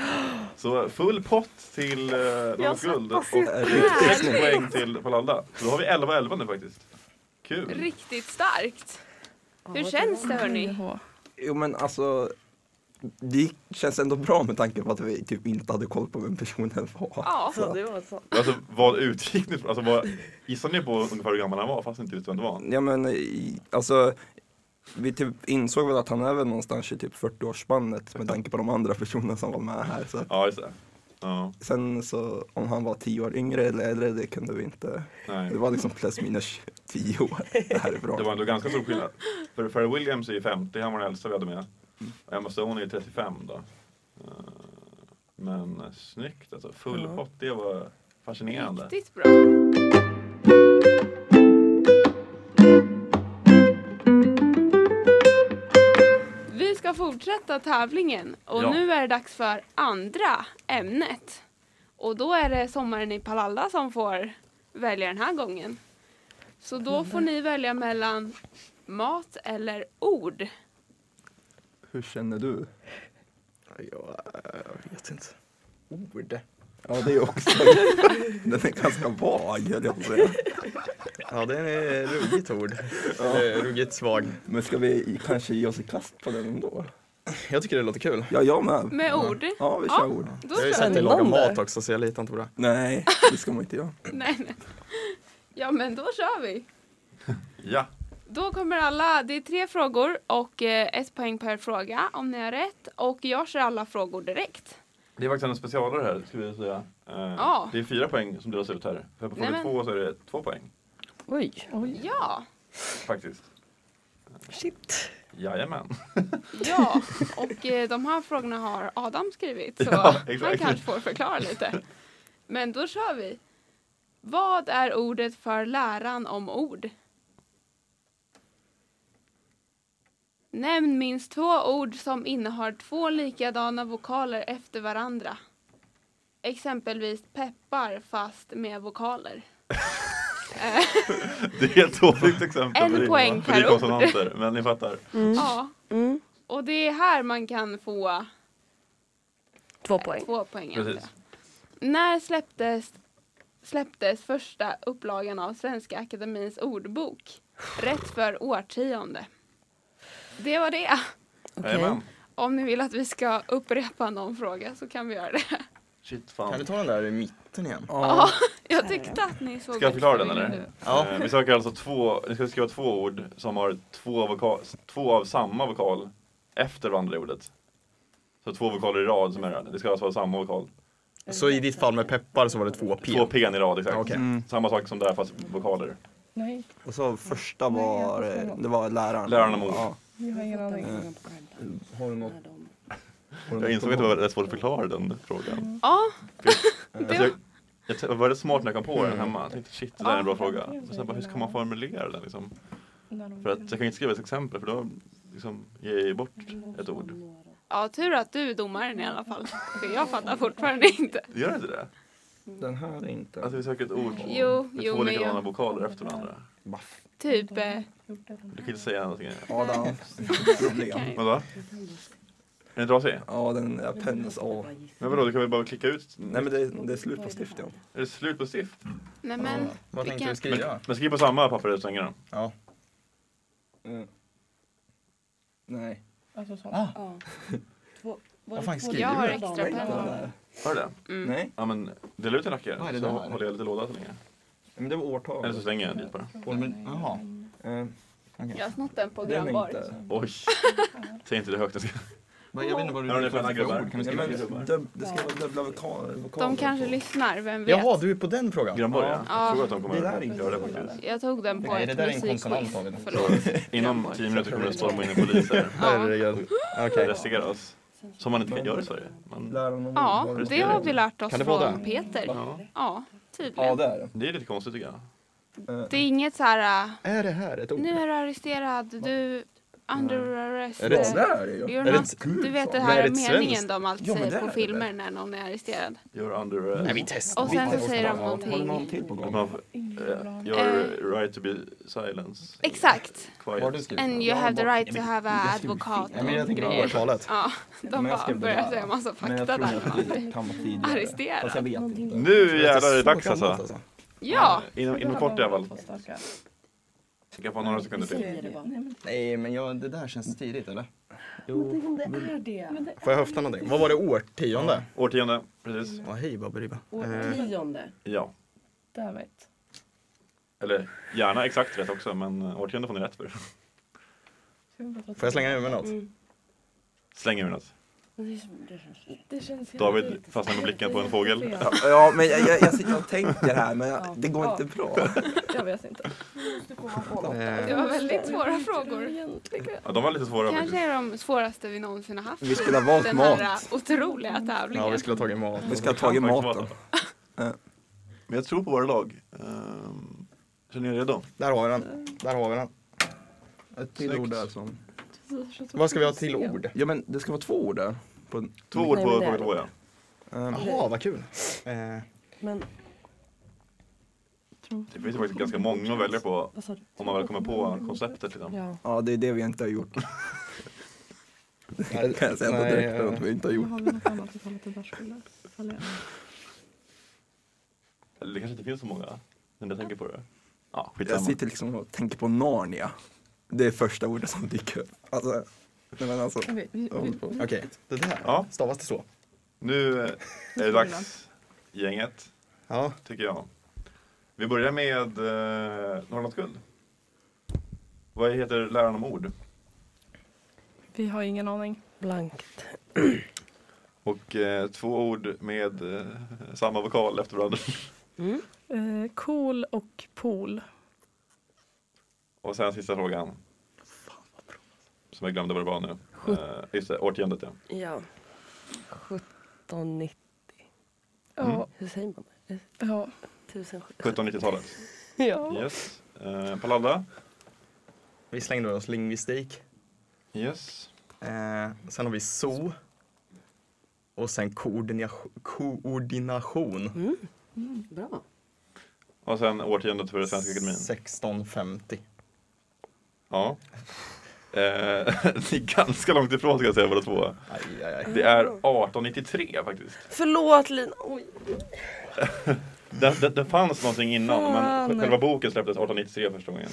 Speaker 6: Så full pott till eh, Norrlands guld och
Speaker 3: Är riktigt
Speaker 6: 6
Speaker 3: snygg.
Speaker 6: poäng till Palladda. Så då har vi 11-11 nu faktiskt. Kul!
Speaker 2: Riktigt starkt. Hur känns det hörni?
Speaker 5: TH.
Speaker 3: Jo men alltså. Det känns ändå bra med tanke på att vi typ inte hade koll på vem personen var.
Speaker 2: Ja.
Speaker 4: Så det var så.
Speaker 6: Alltså vad utgick ni från? Alltså, vad, gissade ni på ungefär hur gammal han var fast ni inte visste vem det var?
Speaker 3: Ja men eh, i- alltså vi typ insåg väl att han är väl någonstans i typ 40-årsspannet med tanke på de andra personerna som var med här. Så.
Speaker 6: Ja, just det. Ja,
Speaker 3: Sen så om han var 10 år yngre eller äldre det kunde vi inte.
Speaker 6: nej.
Speaker 3: Det var liksom plus minus 10 år härifrån.
Speaker 6: Det var ändå ganska stor skillnad. För Pharrell Williams är ju 50, han var den äldsta vi hade med. Och Emma Stone är 35 då. Eh, Men eh, snyggt alltså. Full
Speaker 4: Ja.
Speaker 6: pott, det var fascinerande.
Speaker 2: Riktigt bra. Vi ska fortsätta tävlingen och
Speaker 6: Ja.
Speaker 2: nu är det dags för andra ämnet. Och då är det sommaren i Palalla som får välja den här gången. Så då får ni välja mellan mat eller ord.
Speaker 3: Hur känner du?
Speaker 7: Jag, vet inte.
Speaker 3: Ord. Ja det är också.
Speaker 6: [LAUGHS]
Speaker 3: Den är ganska vag höll jag på att säga.
Speaker 7: Ja, det är ett ruggigt [LAUGHS] ord. Eller Ruggigt svag.
Speaker 3: Men ska vi kanske ge oss i kast på den ändå?
Speaker 7: Jag tycker det låter kul.
Speaker 3: Ja jag med.
Speaker 2: Med ord?
Speaker 3: Ja vi kör
Speaker 2: Ja.
Speaker 3: ord.
Speaker 2: Då
Speaker 7: Jag har ju
Speaker 2: kör
Speaker 7: sett
Speaker 2: vi.
Speaker 7: dig laga
Speaker 4: Spännande.
Speaker 7: mat också så jag litar inte på det.
Speaker 3: Nej det ska man inte göra.
Speaker 2: Nej, nej. Ja men då kör vi.
Speaker 6: Ja,
Speaker 2: Då kommer alla, det är tre frågor och eh, ett poäng per fråga om ni har rätt. Och jag kör alla frågor direkt.
Speaker 6: det är faktiskt en specialare här skulle jag säga. Eh,
Speaker 2: Ja.
Speaker 6: Det är fyra poäng som delas ut här. För på
Speaker 2: Nej,
Speaker 6: fråga
Speaker 2: men-
Speaker 6: två så är det två poäng
Speaker 4: Oj.
Speaker 2: Ja,
Speaker 6: faktiskt.
Speaker 4: Shit.
Speaker 2: [LAUGHS]
Speaker 6: Jajamän.
Speaker 2: ja. Och eh, de här frågorna har Adam skrivit så
Speaker 6: Ja,
Speaker 2: han
Speaker 6: exakt.
Speaker 2: kanske får förklara lite. Men då kör vi. Vad är ordet för läran om ord? Nämn minst två ord som innehar två likadana vokaler efter varandra. Exempelvis peppar fast med vokaler.
Speaker 6: Det är ett dåligt exempel.
Speaker 2: En
Speaker 6: för det-
Speaker 2: poäng
Speaker 6: för det är
Speaker 2: per
Speaker 6: konsonanter, men ni fattar.
Speaker 2: Ja,
Speaker 4: Mm.
Speaker 2: och det är här man kan få
Speaker 4: Två poäng.
Speaker 2: två poäng. antar jag.
Speaker 6: Precis.
Speaker 2: När släpptes, släpptes första upplagan av Svenska Akademins ordbok? Rätt för årtionde. Det var det.
Speaker 6: Jajamän.
Speaker 2: Om ni vill att vi ska upprepa någon fråga så kan vi göra det.
Speaker 6: Shit,
Speaker 7: Kan
Speaker 6: fan.
Speaker 7: du ta den där i mitten igen?
Speaker 2: Ja, jag tyckte att ni såg
Speaker 6: Ska jag förklara
Speaker 2: ut
Speaker 6: den,
Speaker 2: som
Speaker 6: eller?
Speaker 2: nu.
Speaker 6: Eh, Vi söker alltså två, ni ska skriva två ord som har två, voka, två av samma vokal efter varandra i ordet. Så två vokaler i rad som är det. Det ska alltså vara samma vokal.
Speaker 7: Så i ditt fall med peppar så var det två P. Ah,
Speaker 6: Två P i rad, exakt.
Speaker 7: Okej.
Speaker 3: Mm.
Speaker 6: Samma sak som där fast vokaler.
Speaker 5: Nej,
Speaker 3: Och så första var, det var läraren.
Speaker 6: Läraren om ord.
Speaker 5: jag har ingen aning.
Speaker 3: Har du något? Har du
Speaker 6: Jag
Speaker 3: något
Speaker 6: insåg
Speaker 3: om
Speaker 6: att det var rätt svårt att förklara den frågan.
Speaker 2: Ja, [LAUGHS]
Speaker 6: Alltså jag, jag t- var rätt smart när jag kom på den hemma. Jag tänkte shit, det
Speaker 2: Ah.
Speaker 6: där är en bra fråga. Och sen bara, hur ska man formulera den liksom? För att jag kan inte skriva ett exempel för då liksom, ge bort ett ord?
Speaker 2: Ja, tur att du är domaren i alla fall. För jag fattar fortfarande inte.
Speaker 6: Gör det inte det?
Speaker 3: Den här är inte.
Speaker 6: Att vi söker ett ord
Speaker 2: Jo,
Speaker 6: med
Speaker 2: jo,
Speaker 6: två
Speaker 2: men
Speaker 6: likadana
Speaker 2: jag-
Speaker 6: vokaler efter varandra?
Speaker 3: Baff.
Speaker 2: Typ, eh,
Speaker 6: Du kan inte säga någonting. [LAUGHS]
Speaker 3: Adam. Problem.
Speaker 6: Vadå? Är den trasig?
Speaker 3: Ja, den är pennens A.
Speaker 6: Men vadå, du kan väl bara klicka ut?
Speaker 3: Nej men det, det är slut på stift ja.
Speaker 6: Är det slut på stift?
Speaker 2: nej men.
Speaker 7: Vad tänkte
Speaker 2: kan-
Speaker 7: du skriva?
Speaker 6: Men skriv på samma papper utan tänker
Speaker 7: Ja.
Speaker 3: Mm. Nej.
Speaker 5: Alltså, Ah.
Speaker 7: Vad fan skriver
Speaker 2: Jag har
Speaker 7: du?
Speaker 2: extra
Speaker 3: Den
Speaker 2: penna.
Speaker 3: där.
Speaker 6: Hör det?
Speaker 2: Mm.
Speaker 3: Nej.
Speaker 6: Ja men dela ut en rackare
Speaker 7: Vad är det
Speaker 6: så
Speaker 7: där?
Speaker 6: håller jag lite låda så länge.
Speaker 3: Men det var årtal.
Speaker 7: Alltså,
Speaker 6: Eller så slänger jag en dit bara.
Speaker 7: Åh, men- Jaha.
Speaker 3: Eh,
Speaker 2: Jag har snott den på
Speaker 3: den är
Speaker 2: grannbar.
Speaker 3: inte.
Speaker 7: [LAUGHS]
Speaker 6: Oj! Säg inte det högt. jag ska-
Speaker 7: Vad- Jag vet inte vad du
Speaker 6: Här har ni sköna gubbar.
Speaker 7: Kan vi
Speaker 3: Nej,
Speaker 7: skriva?
Speaker 3: men dub, det ska vara dubbla vokaler. vokaler
Speaker 2: De kanske
Speaker 3: på.
Speaker 2: lyssnar, vem vet?
Speaker 7: Jaha, du är på den frågan?
Speaker 6: Grannborg ja. Jag
Speaker 2: Ja.
Speaker 6: tror att de kommer
Speaker 3: Det där är inte
Speaker 6: göra det
Speaker 3: så bra.
Speaker 6: faktiskt.
Speaker 2: Jag tog den på
Speaker 7: Nej, det
Speaker 2: ett
Speaker 7: där är en
Speaker 2: musikquiz.
Speaker 7: konsonant, David.
Speaker 2: Förlåt.
Speaker 6: Inom tio minuter kommer det storma in en polis här.
Speaker 2: Ja.
Speaker 6: och Arrestera oss. Som man inte kan göra i Sverige. Man...
Speaker 3: Lära någon
Speaker 2: ja,
Speaker 3: ordval.
Speaker 2: det har vi lärt oss
Speaker 7: Kan det vara
Speaker 2: från
Speaker 7: det?
Speaker 2: Peter.
Speaker 6: Ja.
Speaker 2: Ja,
Speaker 3: Ja,
Speaker 2: tydligen.
Speaker 3: det Eh, är det.
Speaker 6: Det är lite konstigt tycker jag.
Speaker 2: Det är inget så här, äh,
Speaker 7: Är det här ett ord?
Speaker 2: nu är du arresterad, du under arrest.
Speaker 7: Är det
Speaker 3: Ja, det är det ju.
Speaker 2: You're
Speaker 7: Är det
Speaker 2: not,
Speaker 7: ett-
Speaker 2: du vet det
Speaker 7: Men är
Speaker 2: här
Speaker 7: det
Speaker 2: är
Speaker 7: ett
Speaker 2: meningen
Speaker 7: svenskt?
Speaker 2: de alltid
Speaker 3: Ja, men det
Speaker 2: säger
Speaker 3: är
Speaker 2: på
Speaker 3: det
Speaker 2: filmer när någon är arresterad.
Speaker 6: You're under... eh,
Speaker 7: Nej, vi testar.
Speaker 2: Och sen så
Speaker 7: Vi-
Speaker 2: säger de
Speaker 3: Har du någon
Speaker 2: någonting.
Speaker 3: till på gång?
Speaker 6: man- eh, Your right to be silence.
Speaker 2: Exakt.
Speaker 7: Vad har du
Speaker 6: Quiet.
Speaker 7: skrivit?
Speaker 2: And you have the right to have a advokat.
Speaker 7: Nej, men jag tänker på
Speaker 2: grejer.
Speaker 7: årtalet.
Speaker 2: Ja, de
Speaker 3: Men jag
Speaker 2: bara
Speaker 3: skrev det
Speaker 2: börjar
Speaker 3: där.
Speaker 2: säga massa
Speaker 3: Men
Speaker 2: fakta
Speaker 3: jag tror
Speaker 2: där.
Speaker 3: att det kan vara tidigare.
Speaker 2: Arresterad.
Speaker 7: Alltså-
Speaker 3: Fast jag vet inte.
Speaker 6: Nu
Speaker 7: Det
Speaker 6: jävlar är
Speaker 7: så
Speaker 6: det dags
Speaker 7: gammalt,
Speaker 6: alltså.
Speaker 2: Ja,
Speaker 6: Inom, inom kort i alla fall. Tänka på
Speaker 4: Mm.
Speaker 6: några sekunder till.
Speaker 7: Nej, men jag, det där känns tidigt, eller?
Speaker 4: Tänk om det är det?
Speaker 7: Får jag höfta någonting? Vad var det, årtionde?
Speaker 6: Årtionde,
Speaker 4: Mm.
Speaker 6: precis.
Speaker 7: Ja, hej Baberiba.
Speaker 4: Årtionde.
Speaker 6: Ja.
Speaker 5: Damn it.
Speaker 6: Eller gärna exakt rätt också, men eh, årtionde får ni rätt för. [LAUGHS]
Speaker 7: Får jag slänga ur med något?
Speaker 2: Mm.
Speaker 6: Slänger vi något.
Speaker 5: Det känns
Speaker 6: David fastnar med blicken på en fågel. Ja.
Speaker 3: Ja, men jag, jag, jag sitter och tänker här, men jag, det går inte bra. Eh,
Speaker 5: Jag vet inte.
Speaker 2: det var väldigt svåra frågor.
Speaker 6: Ja, de var lite svåra
Speaker 2: Kanske
Speaker 6: faktiskt.
Speaker 2: är de svåraste vi någonsin har haft.
Speaker 3: Vi skulle ha valt
Speaker 2: Den här äh, eh,
Speaker 3: mat.
Speaker 2: otroliga
Speaker 4: Mm.
Speaker 2: tävlingen.
Speaker 7: Ja, vi skulle ha tagit mat.
Speaker 3: Vi ska ha tagit
Speaker 6: Faktiskt
Speaker 3: maten.
Speaker 6: var det.
Speaker 3: Ja.
Speaker 6: Men jag tror på våra lag. Ehm, Känner ni er redo?
Speaker 7: Där har vi den. Där har vi den.
Speaker 3: Ett till
Speaker 6: Snyggt.
Speaker 3: ord där som...
Speaker 7: Vad ska vi ha till ord?
Speaker 3: Ja, men det ska vara två ord där. På, en-
Speaker 6: Två ord
Speaker 4: Nej,
Speaker 6: på
Speaker 4: men det är
Speaker 6: fråga
Speaker 4: det.
Speaker 6: två ja.
Speaker 3: ehm,
Speaker 7: Jaha, vad kul. Eh,
Speaker 4: Men
Speaker 6: Det finns ju faktiskt ganska många att välja på
Speaker 4: vad sa du?
Speaker 6: om man väl kommer på konceptet. Liksom.
Speaker 4: Ja.
Speaker 3: ja, det är det vi inte har [LAUGHS] gjort.
Speaker 7: nej,
Speaker 3: Kan jag säga på
Speaker 7: nej,
Speaker 3: direkten att vi inte har gjort.
Speaker 5: vi något annat ifall att det där skulle falla
Speaker 6: Eller det kanske inte finns så många, när jag tänker på det. Ja,
Speaker 3: Jag
Speaker 6: skitsamma.
Speaker 3: sitter liksom och tänker på Narnia. Det är första ordet som dyker upp. Alltså, nej men alltså.
Speaker 7: Okej, det där.
Speaker 6: Ja.
Speaker 7: Stavas det så?
Speaker 6: Nu är det dags, gänget,
Speaker 7: Ja.
Speaker 6: tycker jag. Vi börjar med eh, Norrlandsguld. Vad heter läraren om ord?
Speaker 5: Vi har ingen aning.
Speaker 4: Blankt.
Speaker 6: Och eh, två ord med eh, samma vokal efter varandra.
Speaker 4: Mm.
Speaker 5: Eh, cool och pool.
Speaker 6: Och sen sista frågan. Som jag glömde vad det var nu. Eh, just det, årtiondet ja.
Speaker 4: Ja. 1790.
Speaker 6: Mm.
Speaker 5: Ja.
Speaker 4: Hur säger man? det?
Speaker 5: ja.
Speaker 6: [LAUGHS]
Speaker 4: 1700.
Speaker 6: 1790-talet.
Speaker 4: Ja.
Speaker 6: Yes. Eh, Palladda.
Speaker 7: Vi slängde oss lingvistik.
Speaker 6: Yes.
Speaker 7: Eh, sen har vi zoo. Och sen koordination.
Speaker 6: Mm.
Speaker 7: koordination.
Speaker 4: Bra.
Speaker 6: Och sen årtiondet för Svenska Akademien.
Speaker 7: 1650.
Speaker 6: Ja. Eh, [LAUGHS] ni är ganska långt ifrån ska jag säga båda två.
Speaker 7: Aj, aj, aj.
Speaker 6: Det är 1893 faktiskt.
Speaker 4: Förlåt Lina. Oj.
Speaker 6: Det, det, det fanns någonting innan men
Speaker 4: Fan.
Speaker 6: själva boken släpptes 1893 första gången.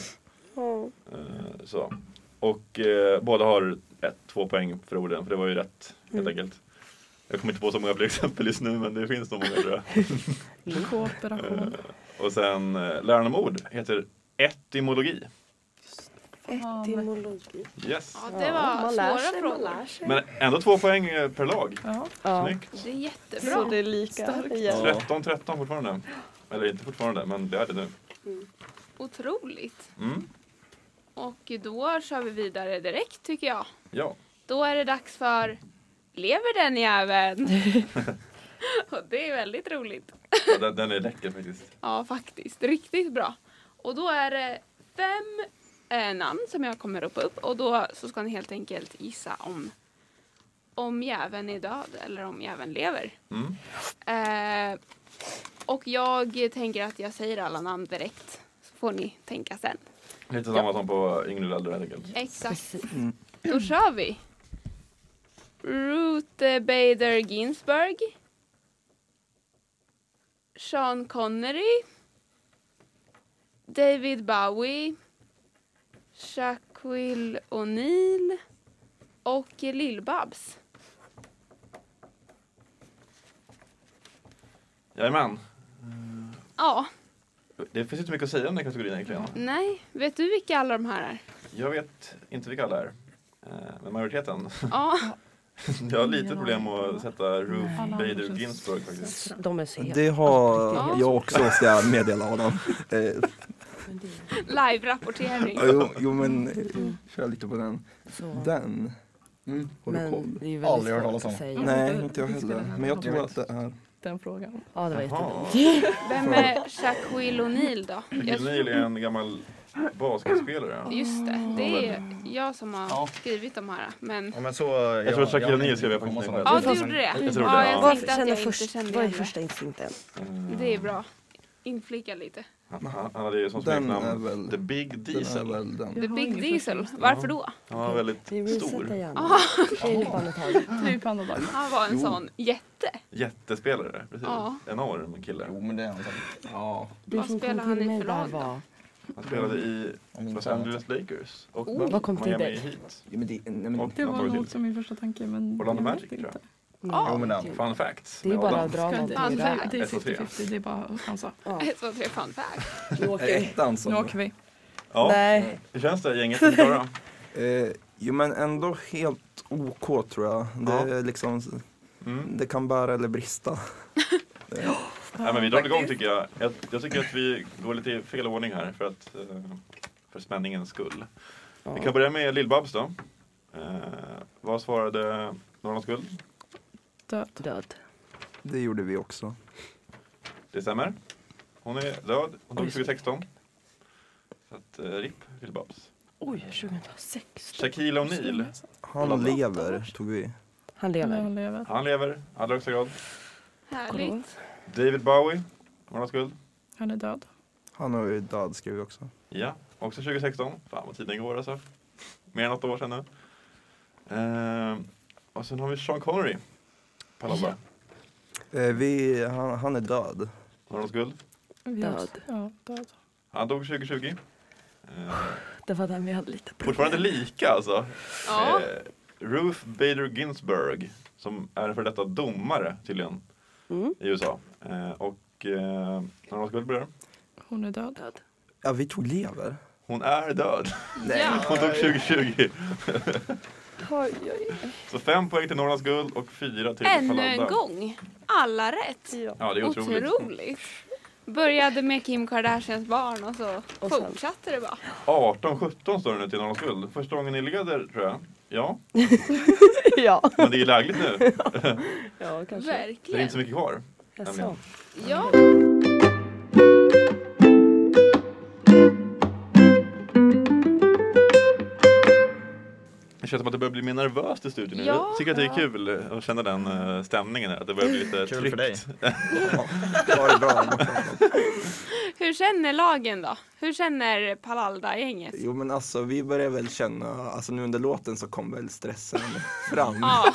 Speaker 4: Ja.
Speaker 6: Eh, så. Och eh, båda har ett, två poäng för orden för det var ju rätt helt
Speaker 4: Mm.
Speaker 6: enkelt. Jag kommer inte på så många fler [LAUGHS] exempel just nu men det finns nog många tror jag.
Speaker 5: Kooperation.
Speaker 6: Och sen eh, läran om ord heter etymologi.
Speaker 4: Etymologi.
Speaker 6: Yes.
Speaker 2: Ja, det
Speaker 4: Ja,
Speaker 2: var
Speaker 4: man lär
Speaker 2: svåra
Speaker 4: sig, man
Speaker 2: frågor.
Speaker 4: lär sig.
Speaker 6: Men ändå två poäng eh, per lag.
Speaker 5: Ja.
Speaker 4: Ja.
Speaker 6: Snyggt.
Speaker 2: Det är jättebra.
Speaker 4: Så det är lika igen.
Speaker 6: 13-13 fortfarande. Eller inte fortfarande men det är det nu.
Speaker 2: Otroligt.
Speaker 6: Mm.
Speaker 2: Och då kör vi vidare direkt tycker jag.
Speaker 6: Ja.
Speaker 2: Då är det dags för Lever den jäveln? [LAUGHS] och det är väldigt roligt.
Speaker 6: Ja, Den, den är läcker faktiskt.
Speaker 2: Ja, faktiskt. Riktigt bra. Och då är det fem eh, namn som jag kommer ropa upp och då så ska ni helt enkelt gissa om om jäveln är död eller om jäveln lever.
Speaker 6: Mm.
Speaker 2: Eh, och jag tänker att jag säger alla namn direkt så får ni tänka sen.
Speaker 6: Lite samma som på Yngre Lelder helt enkelt.
Speaker 2: Exakt.
Speaker 4: Precis.
Speaker 2: Då kör vi. Ruth Bader Ginsburg. Sean Connery. David Bowie. Shaquille O'Neal. Och Lill-Babs.
Speaker 6: Jajamän.
Speaker 2: Ja,
Speaker 6: Det finns inte mycket att säga om den här kategorin egentligen.
Speaker 2: nej. Vet du vilka alla de här är?
Speaker 6: Jag vet inte vilka alla är. Eh, Men majoriteten. [LAUGHS]
Speaker 2: Ja,
Speaker 6: Jag har lite problem att sätta Ruth
Speaker 5: Alla
Speaker 6: Bader
Speaker 5: känns-
Speaker 6: Ginsburg faktiskt.
Speaker 4: De är så heta.
Speaker 3: Det har
Speaker 2: Ja.
Speaker 3: jag också måste jag meddela honom. Eh,
Speaker 4: Men det är
Speaker 2: live-rapportering.
Speaker 3: jo, jo men eh, kör lite på den.
Speaker 4: så-
Speaker 3: Den.
Speaker 7: Mm.
Speaker 3: Har du koll?
Speaker 4: det är ju
Speaker 7: Aldrig hört talas om.
Speaker 4: säga.
Speaker 3: Nej, inte jag heller. Men jag tror att det är
Speaker 5: Den
Speaker 6: [LAUGHS]
Speaker 5: frågan.
Speaker 4: Ja, det var jättebra.
Speaker 6: Jaha.
Speaker 2: Vem är Shaquille O'Neal då? Jag
Speaker 6: Shaquille O'Neal är en gammal basketspelare.
Speaker 2: Just det, det är jag som har
Speaker 7: Ja.
Speaker 2: skrivit de här. Men
Speaker 7: Ja, men så,
Speaker 6: jag tror att Shaquille O'Neal skrev jag faktiskt inte.
Speaker 2: ja,
Speaker 4: det
Speaker 2: du
Speaker 4: fanns-
Speaker 2: gjorde det.
Speaker 6: jag tror
Speaker 2: ja,
Speaker 6: det,
Speaker 2: jag
Speaker 6: ja.
Speaker 4: Vad
Speaker 2: tänkte att
Speaker 4: känner
Speaker 2: jag
Speaker 4: först,
Speaker 2: inte kände
Speaker 4: vad är
Speaker 2: igen
Speaker 4: första instinkten?
Speaker 2: det. Det är bra. Inflika lite.
Speaker 6: Han, han hade ju som
Speaker 3: Den är
Speaker 6: smeknamn
Speaker 3: väl
Speaker 6: The Big
Speaker 3: den. Är
Speaker 6: Diesel.
Speaker 3: väl
Speaker 2: The
Speaker 3: den.
Speaker 5: Jag har
Speaker 2: Big
Speaker 5: ingen
Speaker 2: Diesel,
Speaker 5: första
Speaker 2: varför då?
Speaker 6: Han var
Speaker 4: Vi
Speaker 6: väldigt
Speaker 4: resetar
Speaker 6: stor.
Speaker 4: hjärnan. Vi hoppar ett tag.
Speaker 5: Nu på Typ andra dagen.
Speaker 2: Han var en
Speaker 3: Jo.
Speaker 2: sån jätte.
Speaker 6: Jättespelare. Precis.
Speaker 2: Ja.
Speaker 6: Enorm kille.
Speaker 7: Jo, men det är han säkert.
Speaker 3: Ja.
Speaker 4: Du
Speaker 2: Vad
Speaker 4: som kom
Speaker 2: spelar
Speaker 4: till
Speaker 2: han i
Speaker 4: mig
Speaker 2: för
Speaker 4: där
Speaker 2: lag då?
Speaker 4: var...
Speaker 6: Han spelade i
Speaker 7: Om
Speaker 6: Los
Speaker 7: inte annat.
Speaker 6: Angeles Lakers. Och
Speaker 2: Oh.
Speaker 4: Vad kom till
Speaker 6: Miami
Speaker 4: dig?
Speaker 6: Heat.
Speaker 3: Ja, men det, nej, men,
Speaker 6: Och
Speaker 5: Det var
Speaker 6: något
Speaker 5: nog
Speaker 6: till.
Speaker 5: också min första tanke. Men
Speaker 6: Orlando
Speaker 5: jag vet
Speaker 6: Magic,
Speaker 5: inte.
Speaker 6: tror jag.
Speaker 2: Ja.
Speaker 7: Jo, men den.
Speaker 6: Fun facts.
Speaker 4: Det är
Speaker 6: med
Speaker 4: bara
Speaker 6: Adam.
Speaker 4: att dra
Speaker 5: Ska inte-
Speaker 4: någonting
Speaker 5: alltså,
Speaker 4: ur
Speaker 5: det-
Speaker 4: röven.
Speaker 5: Det är
Speaker 6: Ett och tre.
Speaker 5: 50-50, det är bara att chansa.
Speaker 4: Ja.
Speaker 2: Ett, två, tre, fun fact.
Speaker 4: Nu åker
Speaker 3: är
Speaker 4: vi.
Speaker 3: ettan
Speaker 5: Nu
Speaker 3: som...
Speaker 5: åker vi.
Speaker 6: Ja,
Speaker 4: Nej.
Speaker 6: hur känns det gänget? Är
Speaker 4: [LAUGHS]
Speaker 6: ni klara?
Speaker 3: Eh, jo men ändå helt OK tror jag. Det,
Speaker 6: Ja.
Speaker 3: är liksom,
Speaker 6: Mm.
Speaker 3: det kan bära eller brista.
Speaker 6: Nej, men vi drar igång tycker jag. jag. Jag tycker att vi går lite i fel ordning här för, att, eh, för spänningens skull. Vi kan börja med Lill-Babs då. Eh, vad svarade Norrlandsguld?
Speaker 5: Död.
Speaker 4: Död.
Speaker 3: Det gjorde vi också.
Speaker 6: Det stämmer. Hon är död. Hon dog 2016. Så att, eh, RIP Lill-Babs.
Speaker 4: Oj, 2006.
Speaker 6: Shaquille O'Neal.
Speaker 3: Han
Speaker 6: Kolla.
Speaker 3: lever, tog vi.
Speaker 4: Han
Speaker 5: Eller
Speaker 4: lever.
Speaker 5: han lever.
Speaker 6: Han lever i allra högsta grad.
Speaker 2: Härligt.
Speaker 6: David Bowie. Norrlandsguld.
Speaker 5: Han är död.
Speaker 3: Han har ju död skrev vi också.
Speaker 6: Ja, också 2016. Fan vad tiden går alltså. Mer än åtta år sedan nu. Eh, och sen har vi Sean Connery. Palabra.
Speaker 3: Eh, vi, han, han är död.
Speaker 6: Norrlandsguld.
Speaker 5: Vi har också-
Speaker 4: Död.
Speaker 5: Ja, död.
Speaker 6: Han dog 2020. Eh,
Speaker 4: Det var den vi hade lite problem.
Speaker 6: fortfarande lika alltså.
Speaker 2: Ja.
Speaker 6: Eh, Ruth Bader Ginsburg, som är en före detta domare tydligen
Speaker 4: Mm.
Speaker 6: i USA. Eh, och eh, Norrlandsguld blir det.
Speaker 5: Hon är död.
Speaker 4: Död.
Speaker 3: Ja vi tog lever.
Speaker 6: Hon är död. [LAUGHS]
Speaker 2: Ja.
Speaker 6: Hon dog 2020.
Speaker 4: Oj, oj, oj.
Speaker 6: Så fem poäng till Norrlandsguld och fyra till
Speaker 2: Ännu
Speaker 6: Palanda.
Speaker 2: en gång. Alla rätt.
Speaker 6: Ja, det är otroligt.
Speaker 2: Otroligt. Började med Kim Kardashians barn och så
Speaker 4: Och sen-
Speaker 2: fortsatte det bara.
Speaker 6: 18-17 står det nu till Norrlands guld. Första gången ni leder tror jag. Ja,
Speaker 4: [LAUGHS] Ja.
Speaker 6: men det är ju lägligt nu.
Speaker 4: Ja, kanske.
Speaker 6: Det är inte
Speaker 2: Verkligen.
Speaker 6: så mycket kvar.
Speaker 4: Jaså.
Speaker 2: Ja.
Speaker 6: Det känns som att det börjar bli mer nervöst i studion nu.
Speaker 2: Ja.
Speaker 6: Jag tycker att det är kul att känna den eh, stämningen här. Att det börjar bli lite
Speaker 7: Kul för dig.
Speaker 6: tryckt.
Speaker 3: Var det bra?
Speaker 2: Hur känner lagen då? Hur känner Palalda-gänget?
Speaker 3: Jo men alltså vi börjar väl känna, alltså nu under låten så kom väl stressen fram.
Speaker 2: Ja,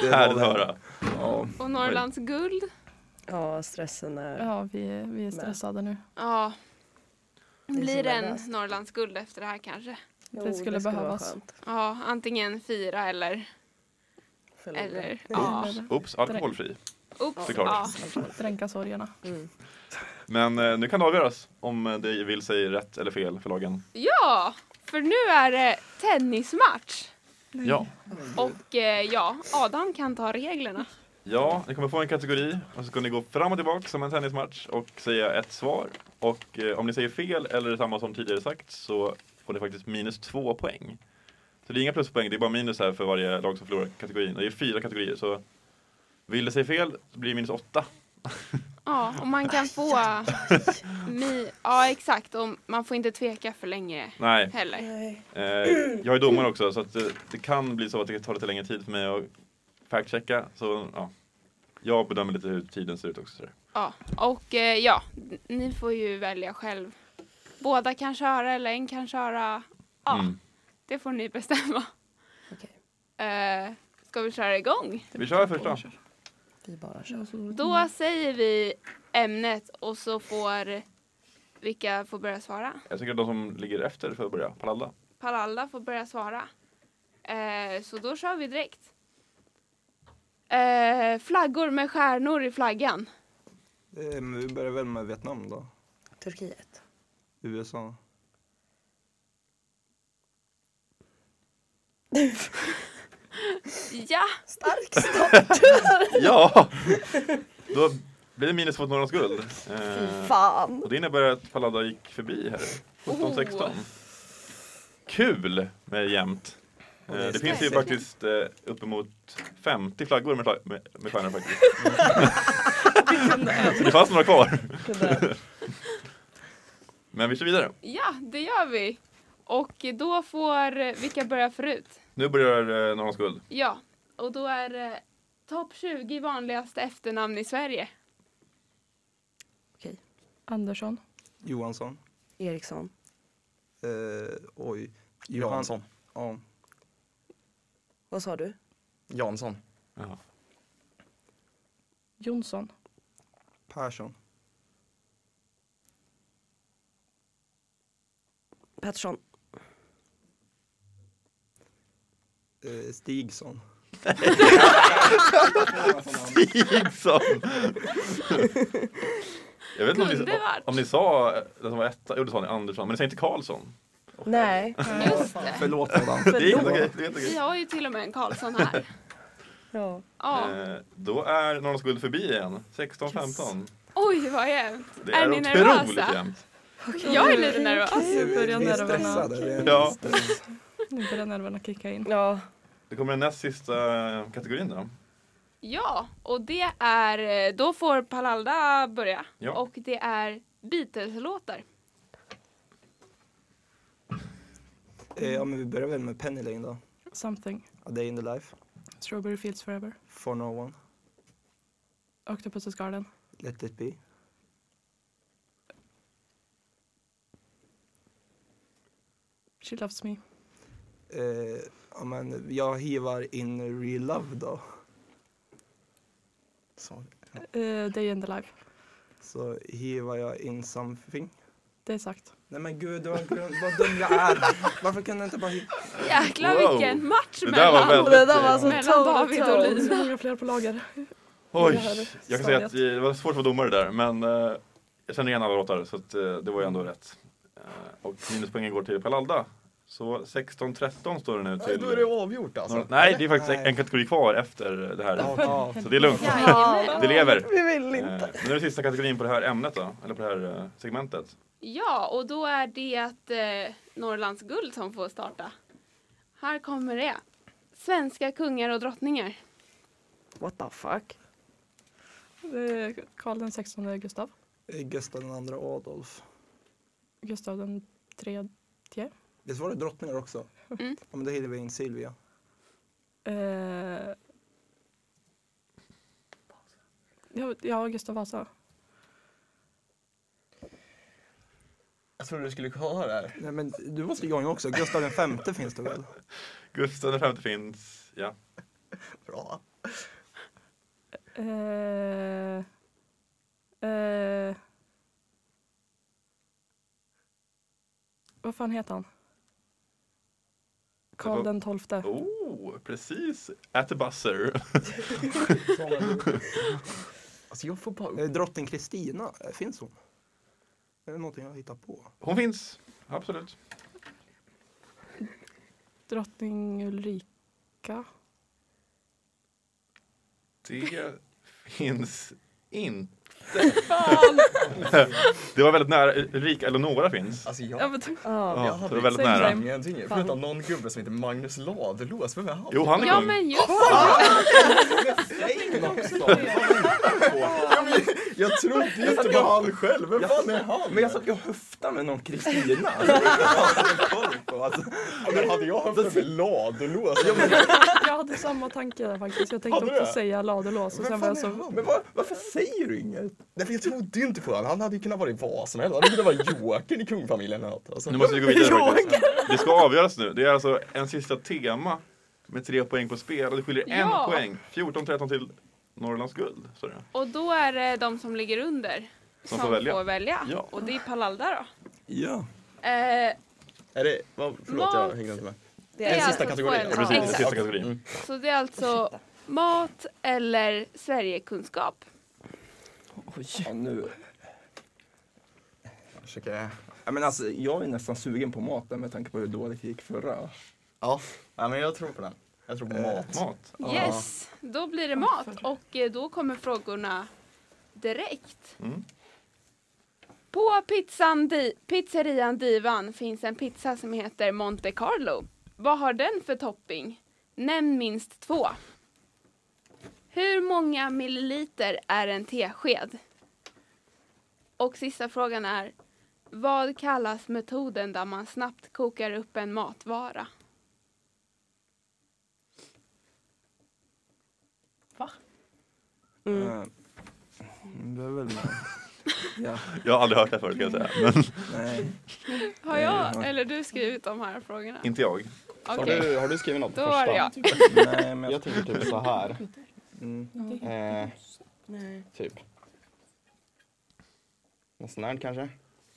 Speaker 3: Det var
Speaker 6: Härligt att
Speaker 3: väl-
Speaker 6: höra.
Speaker 3: Ja,
Speaker 2: och Norrlands guld.
Speaker 4: Ja, stressen är...
Speaker 5: Ja, vi, är- vi är stressade nu.
Speaker 2: Ja.
Speaker 4: är så
Speaker 2: Blir det en
Speaker 4: nervöst.
Speaker 2: Norrlands guld efter det här kanske?
Speaker 4: Jo,
Speaker 5: Det skulle
Speaker 4: vara
Speaker 5: behövas.
Speaker 4: skönt.
Speaker 2: Ja, antingen fyra eller...
Speaker 4: Förlora.
Speaker 2: eller ja.
Speaker 6: Oops, alkoholfri.
Speaker 2: Oops,
Speaker 6: Såklart.
Speaker 2: ja.
Speaker 5: Dränka sorgerna.
Speaker 6: Men eh, nu kan det avgöras om eh, det vill sig rätt eller fel för lagen.
Speaker 2: ja, för nu är det tennismatch.
Speaker 6: Ja.
Speaker 2: Och eh, ja, Adam kan ta reglerna.
Speaker 6: Ja, ni kommer få en kategori och så ska ni gå fram och tillbaka som en tennismatch och säga ett svar. Och eh, om ni säger fel eller samma som tidigare sagt så får ni faktiskt minus två poäng. Så det är inga pluspoäng, det är bara minus här för varje lag som förlorar kategorin. Och det är fyra kategorier så vill det säga fel så blir det minus åtta.
Speaker 2: Ja, och man kan få... Mi, ja, exakt. Och man får inte tveka för länge
Speaker 6: Nej,
Speaker 2: heller.
Speaker 6: eh, jag är domare också så att det, det kan bli så att det tar lite längre tid för mig att fact-checka. Så ja, jag bedömer lite hur tiden ser ut också. sådär.
Speaker 2: Ja, och eh, ja, ni får ju välja själv. Båda kan köra eller en kan köra. Ja,
Speaker 6: Mm.
Speaker 2: det får ni bestämma.
Speaker 4: Okej,
Speaker 2: Eh, ska vi köra igång?
Speaker 6: Vi kör första.
Speaker 4: vi bara kör.
Speaker 2: Då säger vi ämnet och så får vilka får börja svara.
Speaker 6: Jag tycker att de som ligger efter får börja. Palalla.
Speaker 2: Palalda får börja svara. Eh, så då kör vi direkt. Eh, flaggor med stjärnor i flaggan.
Speaker 3: Eh, men vi börjar väl med Vietnam då?
Speaker 4: Turkiet.
Speaker 3: USA?
Speaker 2: Ja,
Speaker 4: Stark
Speaker 6: [LAUGHS] Ja! Då blir det minus 2 Norrlands guld. Eh,
Speaker 4: fan.
Speaker 6: och det innebär att Palalla gick förbi här. 17-16.
Speaker 2: Oh.
Speaker 6: Kul med jämnt. Eh,
Speaker 3: det är
Speaker 6: det finns ju
Speaker 3: snyggt.
Speaker 6: faktiskt eh, uppemot 50 flaggor med, fla- med, med
Speaker 3: [LAUGHS]
Speaker 6: stjärnor faktiskt. Så det fanns några kvar. [LAUGHS] Men vi kör vidare.
Speaker 2: ja, det gör vi. Och då får eh, vilka börja förut?
Speaker 6: Nu börjar eh, Norrlands guld.
Speaker 2: Ja, och då är det topp 20 vanligaste efternamn i Sverige.
Speaker 5: Andersson.
Speaker 3: Johansson?
Speaker 4: Eriksson.
Speaker 3: Eh, oj. Johan-
Speaker 7: Jansson.
Speaker 3: Ja.
Speaker 4: Vad sa du?
Speaker 7: Jansson.
Speaker 5: Jonsson.
Speaker 3: Persson?
Speaker 4: Pettersson.
Speaker 3: Eh, Stigson?
Speaker 6: Liksom. Jag vet inte om
Speaker 2: Kunde
Speaker 6: ni,
Speaker 2: varit.
Speaker 6: om ni sa eh, den som var etta, jo det sa ni Andersson, men ni sa inte Karlsson.
Speaker 4: Nej.
Speaker 2: Just det.
Speaker 3: [LAUGHS] Förlåt madam.
Speaker 6: Det är helt okej. Det är helt okej.
Speaker 2: Vi har ju till och med en Karlsson här.
Speaker 4: Ja.
Speaker 2: Ja.
Speaker 6: Eh, då är Norrlands guld förbi igen. 16-15.
Speaker 2: Oj, vad jämnt.
Speaker 6: Det
Speaker 2: Är ni nervösa?
Speaker 6: jämnt.
Speaker 2: Jag är lite nervös.
Speaker 5: Nu börjar
Speaker 3: Vi är
Speaker 5: nerverna,
Speaker 3: stressade. det är en
Speaker 6: Ja.
Speaker 3: stress.
Speaker 5: nu börjar nerverna kicka in.
Speaker 4: Ja.
Speaker 6: Det kommer den näst sista kategorin då.
Speaker 2: Ja, och det är, eh, då får Palalda börja.
Speaker 6: Ja.
Speaker 2: Och det är Beatles-låtar.
Speaker 3: Eh, ja, men vi börjar väl med Penny Lane då.
Speaker 5: Something.
Speaker 3: A Day in the Life.
Speaker 5: Strawberry Fields Forever.
Speaker 3: For No One.
Speaker 5: Octopus's Garden.
Speaker 3: Let It Be.
Speaker 5: She Loves Me.
Speaker 3: Eh, ja, men jag hivar in Real Love då.
Speaker 7: Så.
Speaker 5: Eh, Day in the Life.
Speaker 3: Så hivar jag in Something.
Speaker 5: Det är sagt.
Speaker 3: Nej men gud, vad, vad dum jag är. Varför kunde jag inte bara hitta?
Speaker 2: Jäklar
Speaker 6: Wow.
Speaker 2: vilken match
Speaker 6: Det där var
Speaker 2: mellan,
Speaker 6: väldigt...
Speaker 4: Det där var så
Speaker 2: mellan David och
Speaker 5: Det är
Speaker 2: Lina.
Speaker 5: så många fler på lager.
Speaker 6: Oj!
Speaker 5: det här
Speaker 6: Jag kan säga
Speaker 5: stadiet.
Speaker 6: att det var svårt att vara domare där, men eh, jag känner igen alla låtar så att, eh, det var ju ändå rätt. Eh, och minuspoängen går till Palalda. Så 16-13 står det nu
Speaker 7: Nej,
Speaker 6: till...
Speaker 7: Då är det avgjort alltså.
Speaker 6: Norr- Nej, det är faktiskt
Speaker 3: Nej.
Speaker 6: en kategori kvar efter det här.
Speaker 3: Ja,
Speaker 6: Så det är lugnt.
Speaker 2: Jajamän.
Speaker 6: Det lever.
Speaker 4: Vi vill
Speaker 6: Eh, nu är det sista kategorin på det här ämnet då, eller på det här eh, segmentet.
Speaker 2: Ja, och då är det att eh, Norrlands guld som får starta. Här kommer det. Svenska kungar och drottningar.
Speaker 4: What the fuck?
Speaker 5: Det är Karl den 16 Gustav.
Speaker 3: eh, Gustav den andra Adolf.
Speaker 5: Gustav den tredje.
Speaker 3: Visst var det drottningar också?
Speaker 2: Mm.
Speaker 3: Ja, men då hivar vi in Silvia.
Speaker 5: Eh, ja, ja, Gustav Vasa.
Speaker 7: Jag trodde du skulle kolla det här.
Speaker 3: Nej men du måste joina också. Gustav den femte finns det väl?
Speaker 6: Gustav den femte finns, ja.
Speaker 7: Bra.
Speaker 5: Eh, eh, vad fan heter han? Karl den tolfte.
Speaker 6: Oh, precis! At the buzzer.
Speaker 7: Alltså jag får bara upp.
Speaker 3: Eh, Drottning Kristina, eh, finns hon? Är det någonting jag hittar på?
Speaker 6: Hon finns, absolut.
Speaker 5: Drottning Ulrika.
Speaker 6: Det finns inte. det var väldigt nära. Ulrika Eleonora finns.
Speaker 7: Alltså jag,
Speaker 5: Ja, men, typ.
Speaker 4: Ja.
Speaker 6: Ja, det var väldigt
Speaker 5: exakt
Speaker 6: nära.
Speaker 5: samma.
Speaker 7: ingenting förutom någon gubbe som heter Magnus Ladulås. Vem är han?
Speaker 6: Jo, han är
Speaker 2: Ja,
Speaker 6: kung.
Speaker 2: men just
Speaker 7: Säg något!
Speaker 2: det.
Speaker 7: Ja, men Jag trodde ju inte på han själv. Vem fan är han?
Speaker 3: Men jag satt ju och höftade med någon [LAUGHS] Kristina. Alltså, jag hade ingen koll på, alltså.
Speaker 7: Ja, men hade jag haft en med ladulås?
Speaker 5: Jag hade samma tanke där faktiskt. Jag
Speaker 7: Hade
Speaker 5: tänkte
Speaker 7: du
Speaker 5: också
Speaker 7: det?
Speaker 5: säga ladulås och sen var jag så
Speaker 3: Men var, varför säger du inget?
Speaker 7: Nej, för jag trodde ju inte på honom. Han hade ju kunnat vara vad som helst. Han hade kunnat vara jokern i kungfamiljen eller något. Alltså.
Speaker 6: Nu måste vi gå vidare faktiskt. Det ska avgöras nu. Det är alltså en sista tema med tre poäng på spel och det skiljer
Speaker 2: Ja.
Speaker 6: en poäng. 14-13 till Norrlands guld. Så är det.
Speaker 2: Och då är det de som ligger under
Speaker 6: Som får välja. Ja.
Speaker 2: Och det är Palalda då.
Speaker 3: Ja.
Speaker 2: Eh,
Speaker 7: Är det, vad, förlåt, jag
Speaker 2: Mat.
Speaker 7: hängde inte med.
Speaker 4: Det
Speaker 2: är
Speaker 7: En
Speaker 2: alltså
Speaker 7: sista kategori.
Speaker 2: två ämnen.
Speaker 6: Ja, precis, det är
Speaker 2: Exakt.
Speaker 6: sista kategorin.
Speaker 2: så det är alltså mat eller Sverigekunskap.
Speaker 3: ja nu.
Speaker 7: Försöker-
Speaker 3: Ja, men alltså, jag är nästan sugen på maten med tanke på hur dåligt det gick förra.
Speaker 7: Ja, ja, men jag tror på den. Jag tror på mat.
Speaker 6: Mat.
Speaker 2: Yes, då blir det mat och eh, då kommer frågorna direkt.
Speaker 6: Mm.
Speaker 2: På pizzan di- pizzerian Divan finns en pizza som heter Monte Carlo. Vad har den för topping? Nämn minst två. Hur många milliliter är en tesked? Och sista frågan är, vad kallas metoden där man snabbt kokar upp en matvara?
Speaker 4: Mm.
Speaker 3: Eh, Det är väl Mm. Ja,
Speaker 6: Jag har aldrig hört det här förut kan jag säga. Men
Speaker 3: nej.
Speaker 2: Har
Speaker 3: Eh,
Speaker 2: jag eller du skrivit de här frågorna?
Speaker 6: inte jag.
Speaker 2: Okej,
Speaker 7: Har, du, har du skrivit något på
Speaker 2: då var det jag.
Speaker 7: första?
Speaker 3: nej men jag,
Speaker 7: Jag tänker typ så här.
Speaker 3: mm,
Speaker 7: Eh, typ. Något sånt där kanske?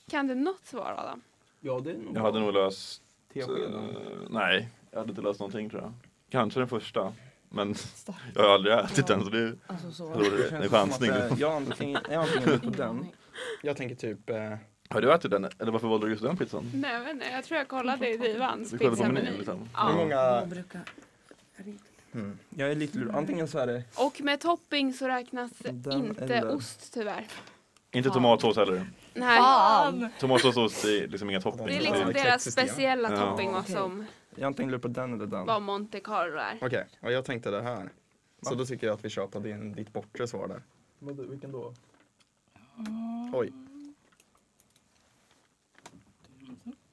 Speaker 2: Kan du något svar Adam?
Speaker 3: ja, det är nog
Speaker 6: Jag hade nog löst...
Speaker 3: teskeden.
Speaker 6: eh, nej, jag hade inte löst någonting tror jag. Kanske den första. Men jag har aldrig ätit den så det är
Speaker 4: Alltså
Speaker 6: jag
Speaker 4: så.
Speaker 6: tror det är en chansning.
Speaker 3: Som att, eh, Jag har antingen jag har antingen gått på den.
Speaker 7: Jag tänker typ... Eh,
Speaker 6: Har du ätit den? Eller varför valde du just den pizzan?
Speaker 2: Nej, jag vet inte. Jag tror jag kollade i Divans
Speaker 6: Du kollade på
Speaker 2: pizzameny.
Speaker 6: menyn liksom.
Speaker 7: Hur
Speaker 2: Ja.
Speaker 7: många...
Speaker 3: Jag är lite lurig. Antingen så är det
Speaker 2: Och med topping så räknas
Speaker 3: Den
Speaker 2: inte
Speaker 3: eller-
Speaker 2: ost tyvärr.
Speaker 6: Inte tomatsås heller.
Speaker 2: Nej.
Speaker 6: Tomatsås och ost är liksom inga
Speaker 2: Det
Speaker 6: toppings.
Speaker 2: är
Speaker 7: Ja,
Speaker 2: liksom
Speaker 7: exakt
Speaker 2: deras
Speaker 7: system.
Speaker 2: speciella
Speaker 6: Ja.
Speaker 2: topping vad
Speaker 4: Okej.
Speaker 2: som
Speaker 3: Jag har antingen lurat på den eller den.
Speaker 2: vad Monte Carlo är.
Speaker 7: Okej, och jag tänkte det här. Så då tycker jag att vi kör på din, ditt bortre svar där. Ah.
Speaker 3: Vad- Vilken då?
Speaker 7: Oj,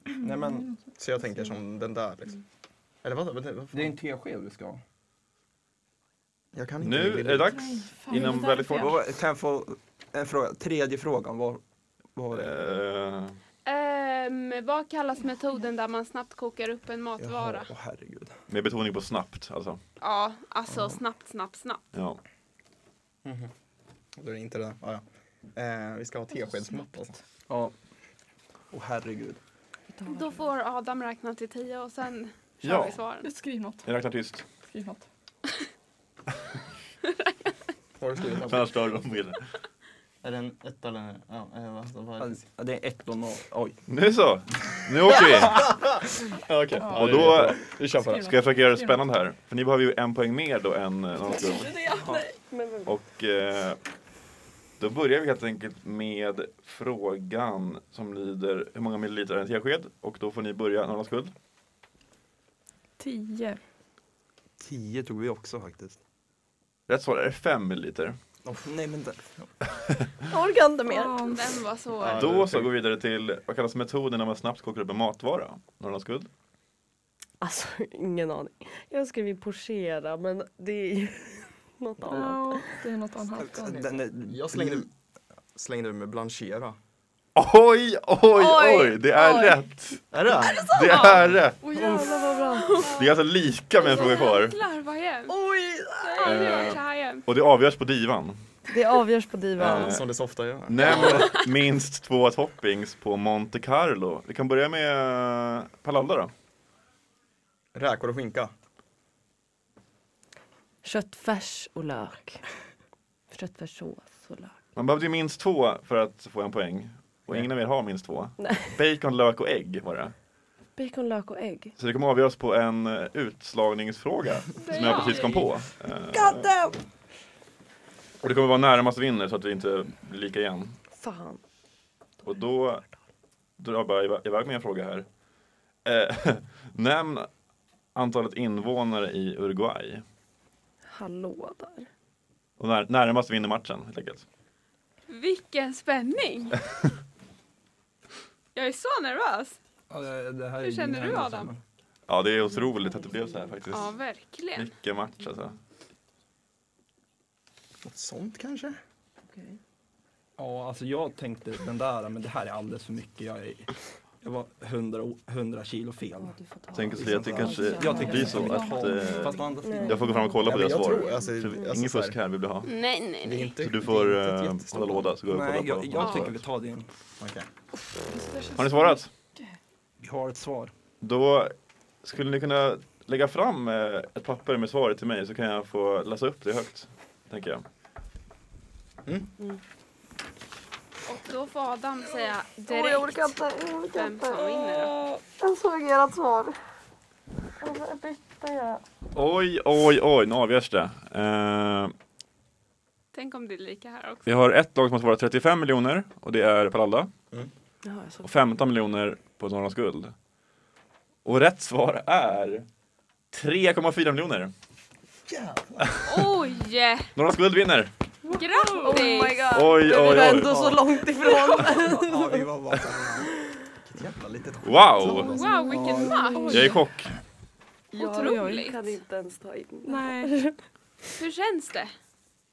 Speaker 3: Nej men,
Speaker 7: så jag tänker som den där liksom. Eller vad, vad, vad
Speaker 3: det är
Speaker 7: fan?
Speaker 3: en tesked vi ska ha.
Speaker 7: Jag kan inte
Speaker 6: Nu är det dags. Inom väldigt kort...
Speaker 3: Vad var- Kan jag få en fråga? Tredje frågan, vad vad var det?
Speaker 6: Eh,
Speaker 2: Ehm, vad kallas metoden där man snabbt kokar upp en matvara?
Speaker 3: åh herregud.
Speaker 6: Med betoning på snabbt alltså.
Speaker 2: Ja, alltså snabbt, snabbt, snabbt.
Speaker 6: Ja.
Speaker 7: Då är det inte det. Ah, ja. eh, vi ska ha teskedsmått alltså.
Speaker 3: Ja. Åh herregud.
Speaker 2: Då får Adam räkna till tio och sen kör
Speaker 6: Ja.
Speaker 2: vi svaren.
Speaker 5: Skriv något.
Speaker 6: Jag räknar tyst.
Speaker 5: Skriv något.
Speaker 7: Vad har du skrivit?
Speaker 6: För Annars dör de bilden.
Speaker 7: Är det en etta eller en... Ja, eh, vad- vad är det?
Speaker 3: Alltså, det är ett och noll. Oj.
Speaker 6: Nu så! Nu åker vi!
Speaker 7: [LAUGHS] Ja, Okej, ja,
Speaker 6: Och
Speaker 7: det är
Speaker 6: då
Speaker 7: bra. vi kör på det.
Speaker 6: ska jag försöka göra det spännande här. För ni behöver ju en poäng mer då än eh, något annat. Och eh, då börjar vi helt enkelt med frågan som lyder hur många milliliter är en tesked? Och då får ni börja Norrlands guld.
Speaker 5: Tio.
Speaker 3: Tio tog vi också faktiskt.
Speaker 6: Rätt svar är 5 milliliter.
Speaker 3: nej men det.
Speaker 4: Jag orkar inte mer.
Speaker 5: Fan.
Speaker 2: Den var svår.
Speaker 7: Ja, det är
Speaker 6: Då så
Speaker 7: fint.
Speaker 6: går vi vidare till vad kallas metoden när man snabbt kokar upp en matvara? Norrlands guld.
Speaker 4: Alltså ingen aning. Jag ska ju porchera men det är ju [LAUGHS] något annat.
Speaker 5: Ja, det är något annat.
Speaker 3: Den Mm. är-
Speaker 7: Jag slängde, slängde med blanchera.
Speaker 6: Oj, oj, oj!
Speaker 4: Oj,
Speaker 6: det är
Speaker 4: oj. Alltså,
Speaker 6: rätt!
Speaker 7: Är det?
Speaker 6: Det är rätt!
Speaker 4: Åh jävlar vad bra.
Speaker 6: Det är alltså lika med en fråga kvar.
Speaker 2: Jäklar vad jämnt.
Speaker 4: Oj!
Speaker 2: Jag har aldrig
Speaker 6: Eh.
Speaker 2: varit så här jämnt.
Speaker 6: Och det avgörs på divan.
Speaker 4: Det avgörs på divan.
Speaker 7: Ja, [LAUGHS] som det så ofta gör.
Speaker 6: [LAUGHS] Nämn minst två toppings på Monte Carlo. Vi kan börja med eh, Palalda då.
Speaker 7: Räkor och skinka.
Speaker 4: Köttfärs och lök. Köttfärssås och lök.
Speaker 6: Man behövde ju minst två för att få en poäng. Och ingen av er har minst två.
Speaker 4: Nej.
Speaker 6: Bacon, lök och ägg var det.
Speaker 4: Bacon, lök och ägg.
Speaker 6: Så det kommer avgöras på en eh,
Speaker 4: [LAUGHS]
Speaker 6: utslagningsfråga som jag precis kom på. Eh,
Speaker 4: God damn!
Speaker 6: Och det kommer vara närmast vinner så att vi inte blir lika igen.
Speaker 4: Fan.
Speaker 6: Och då drar jag bara iva- iväg med en fråga här. Eh, [LAUGHS] nämn antalet invånare i Uruguay.
Speaker 4: Hallå där.
Speaker 6: Och när, närmast vinner matchen helt enkelt.
Speaker 2: vilken spänning! Jag är så nervös.
Speaker 3: Ja, det, det här är
Speaker 2: Hur känner
Speaker 3: mina
Speaker 2: du,
Speaker 3: enda
Speaker 2: Adam?
Speaker 3: sommar.
Speaker 6: Ja, det är otroligt att det blev så här faktiskt.
Speaker 2: Ja, verkligen.
Speaker 6: Mycket match alltså.
Speaker 7: Något sånt kanske?
Speaker 3: Ja, alltså jag tänkte den där, men det här är alldeles för mycket. Jag, är, jag var 100, o- 100 kilo fel.
Speaker 4: Ja, du får ta.
Speaker 6: Tänker Sofia att det
Speaker 3: Alltså,
Speaker 6: kanske
Speaker 4: Jag tänker
Speaker 6: blir så att eh,
Speaker 3: Fast å andra sidan,
Speaker 6: jag får gå fram och kolla på
Speaker 7: Nej, men
Speaker 6: deras
Speaker 7: jag
Speaker 6: svar.
Speaker 7: tror, alltså,
Speaker 6: Så
Speaker 7: alltså,
Speaker 6: Inget
Speaker 7: så här-
Speaker 6: fusk här vill du ha.
Speaker 2: Nej, nej,
Speaker 7: Det är
Speaker 2: nej.
Speaker 7: inte,
Speaker 6: Så du
Speaker 7: det
Speaker 6: får
Speaker 7: är inte ett
Speaker 6: eh,
Speaker 7: jättestort
Speaker 6: hålla låda så går jag och
Speaker 3: nej,
Speaker 6: kollar
Speaker 3: jag,
Speaker 6: på.
Speaker 3: jag
Speaker 2: Ja.
Speaker 3: tycker vi tar din.
Speaker 7: lag. Okej.
Speaker 6: Har ni svarat?
Speaker 3: Vi har ett svar.
Speaker 6: Då skulle ni kunna lägga fram eh, ett papper med svaret till mig så kan jag få läsa upp det högt. Tänker jag.
Speaker 2: Och då får Adam säga direkt
Speaker 9: inte, jag orkar
Speaker 2: vem som vinner. då.
Speaker 9: Jag såg ert svar.
Speaker 6: Oj, oj, oj, nu avgörs det. Eh,
Speaker 2: Tänk om det är lika här också.
Speaker 6: vi har ett lag som har svarat 35 miljoner och det är Palalla.
Speaker 4: Jaha, jag såg.
Speaker 6: Och 15 miljoner på Norrlands guld. Och rätt svar är 3,4 miljoner.
Speaker 2: Oj!
Speaker 6: Norrlands guld vinner!
Speaker 4: Oh
Speaker 2: Grattis!
Speaker 6: Oj,
Speaker 4: Det
Speaker 6: oj,
Speaker 4: var
Speaker 6: oj.
Speaker 4: ändå så långt ifrån.
Speaker 3: Ja, vi var bara såhär, vilket jävla litet skit.
Speaker 6: Wow!
Speaker 2: Wow, vilken match!
Speaker 6: Jag är i chock.
Speaker 2: Otroligt.
Speaker 4: Jag kan inte ens ta in det.
Speaker 5: Nej.
Speaker 2: Hur känns det?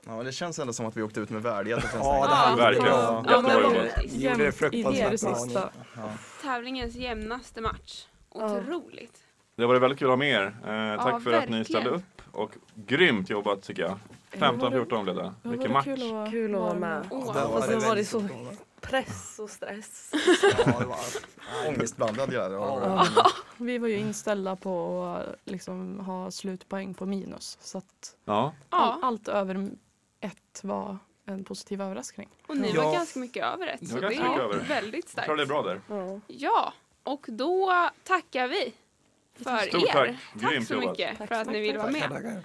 Speaker 7: Ja, det känns ändå som att vi åkte ut med värdighet. och sen så
Speaker 3: Ja,
Speaker 7: här-
Speaker 3: det här var
Speaker 6: Verkligen.
Speaker 3: bra.
Speaker 2: Ja,
Speaker 6: Jättebra
Speaker 2: men-
Speaker 6: jobbat.
Speaker 3: Gjorde det fruktansvärt bra.
Speaker 5: sista.
Speaker 2: Tävlingens jämnaste match. Otroligt.
Speaker 6: Det har varit väldigt kul att ha med er. Eh, tack
Speaker 2: Ja,
Speaker 6: för att
Speaker 2: verkligen.
Speaker 6: ni ställde upp. Och grymt jobbat tycker jag. 15-14 blev det.
Speaker 5: Det
Speaker 6: Vilken
Speaker 5: var
Speaker 6: match.
Speaker 5: kul att vara-
Speaker 4: Kul att vara med.
Speaker 2: Wow.
Speaker 3: Där
Speaker 4: Fast nu var det
Speaker 3: väldigt
Speaker 4: så
Speaker 3: bra.
Speaker 4: press och stress.
Speaker 3: Ja, det var
Speaker 7: Ångestblandad grej. det var bra.
Speaker 5: Ja. [LAUGHS] Vi var ju inställda på att liksom ha slutpoäng på minus. Så att
Speaker 6: Ja.
Speaker 5: all,
Speaker 2: Ja,
Speaker 5: allt över ett var en positiv överraskning.
Speaker 2: och ni
Speaker 3: Ja.
Speaker 2: var ganska mycket över ett,
Speaker 6: Ni
Speaker 2: så
Speaker 6: var
Speaker 2: det
Speaker 6: ganska mycket
Speaker 2: är
Speaker 6: över.
Speaker 2: väldigt
Speaker 6: Jag tror det är
Speaker 2: starkt.
Speaker 6: bra där.
Speaker 4: Ja.
Speaker 2: Ja, och då tackar vi för
Speaker 6: Stort
Speaker 2: er.
Speaker 6: tack. Grymt
Speaker 2: så
Speaker 6: jobbat.
Speaker 2: mycket för att ni ville vara med.
Speaker 3: tackar.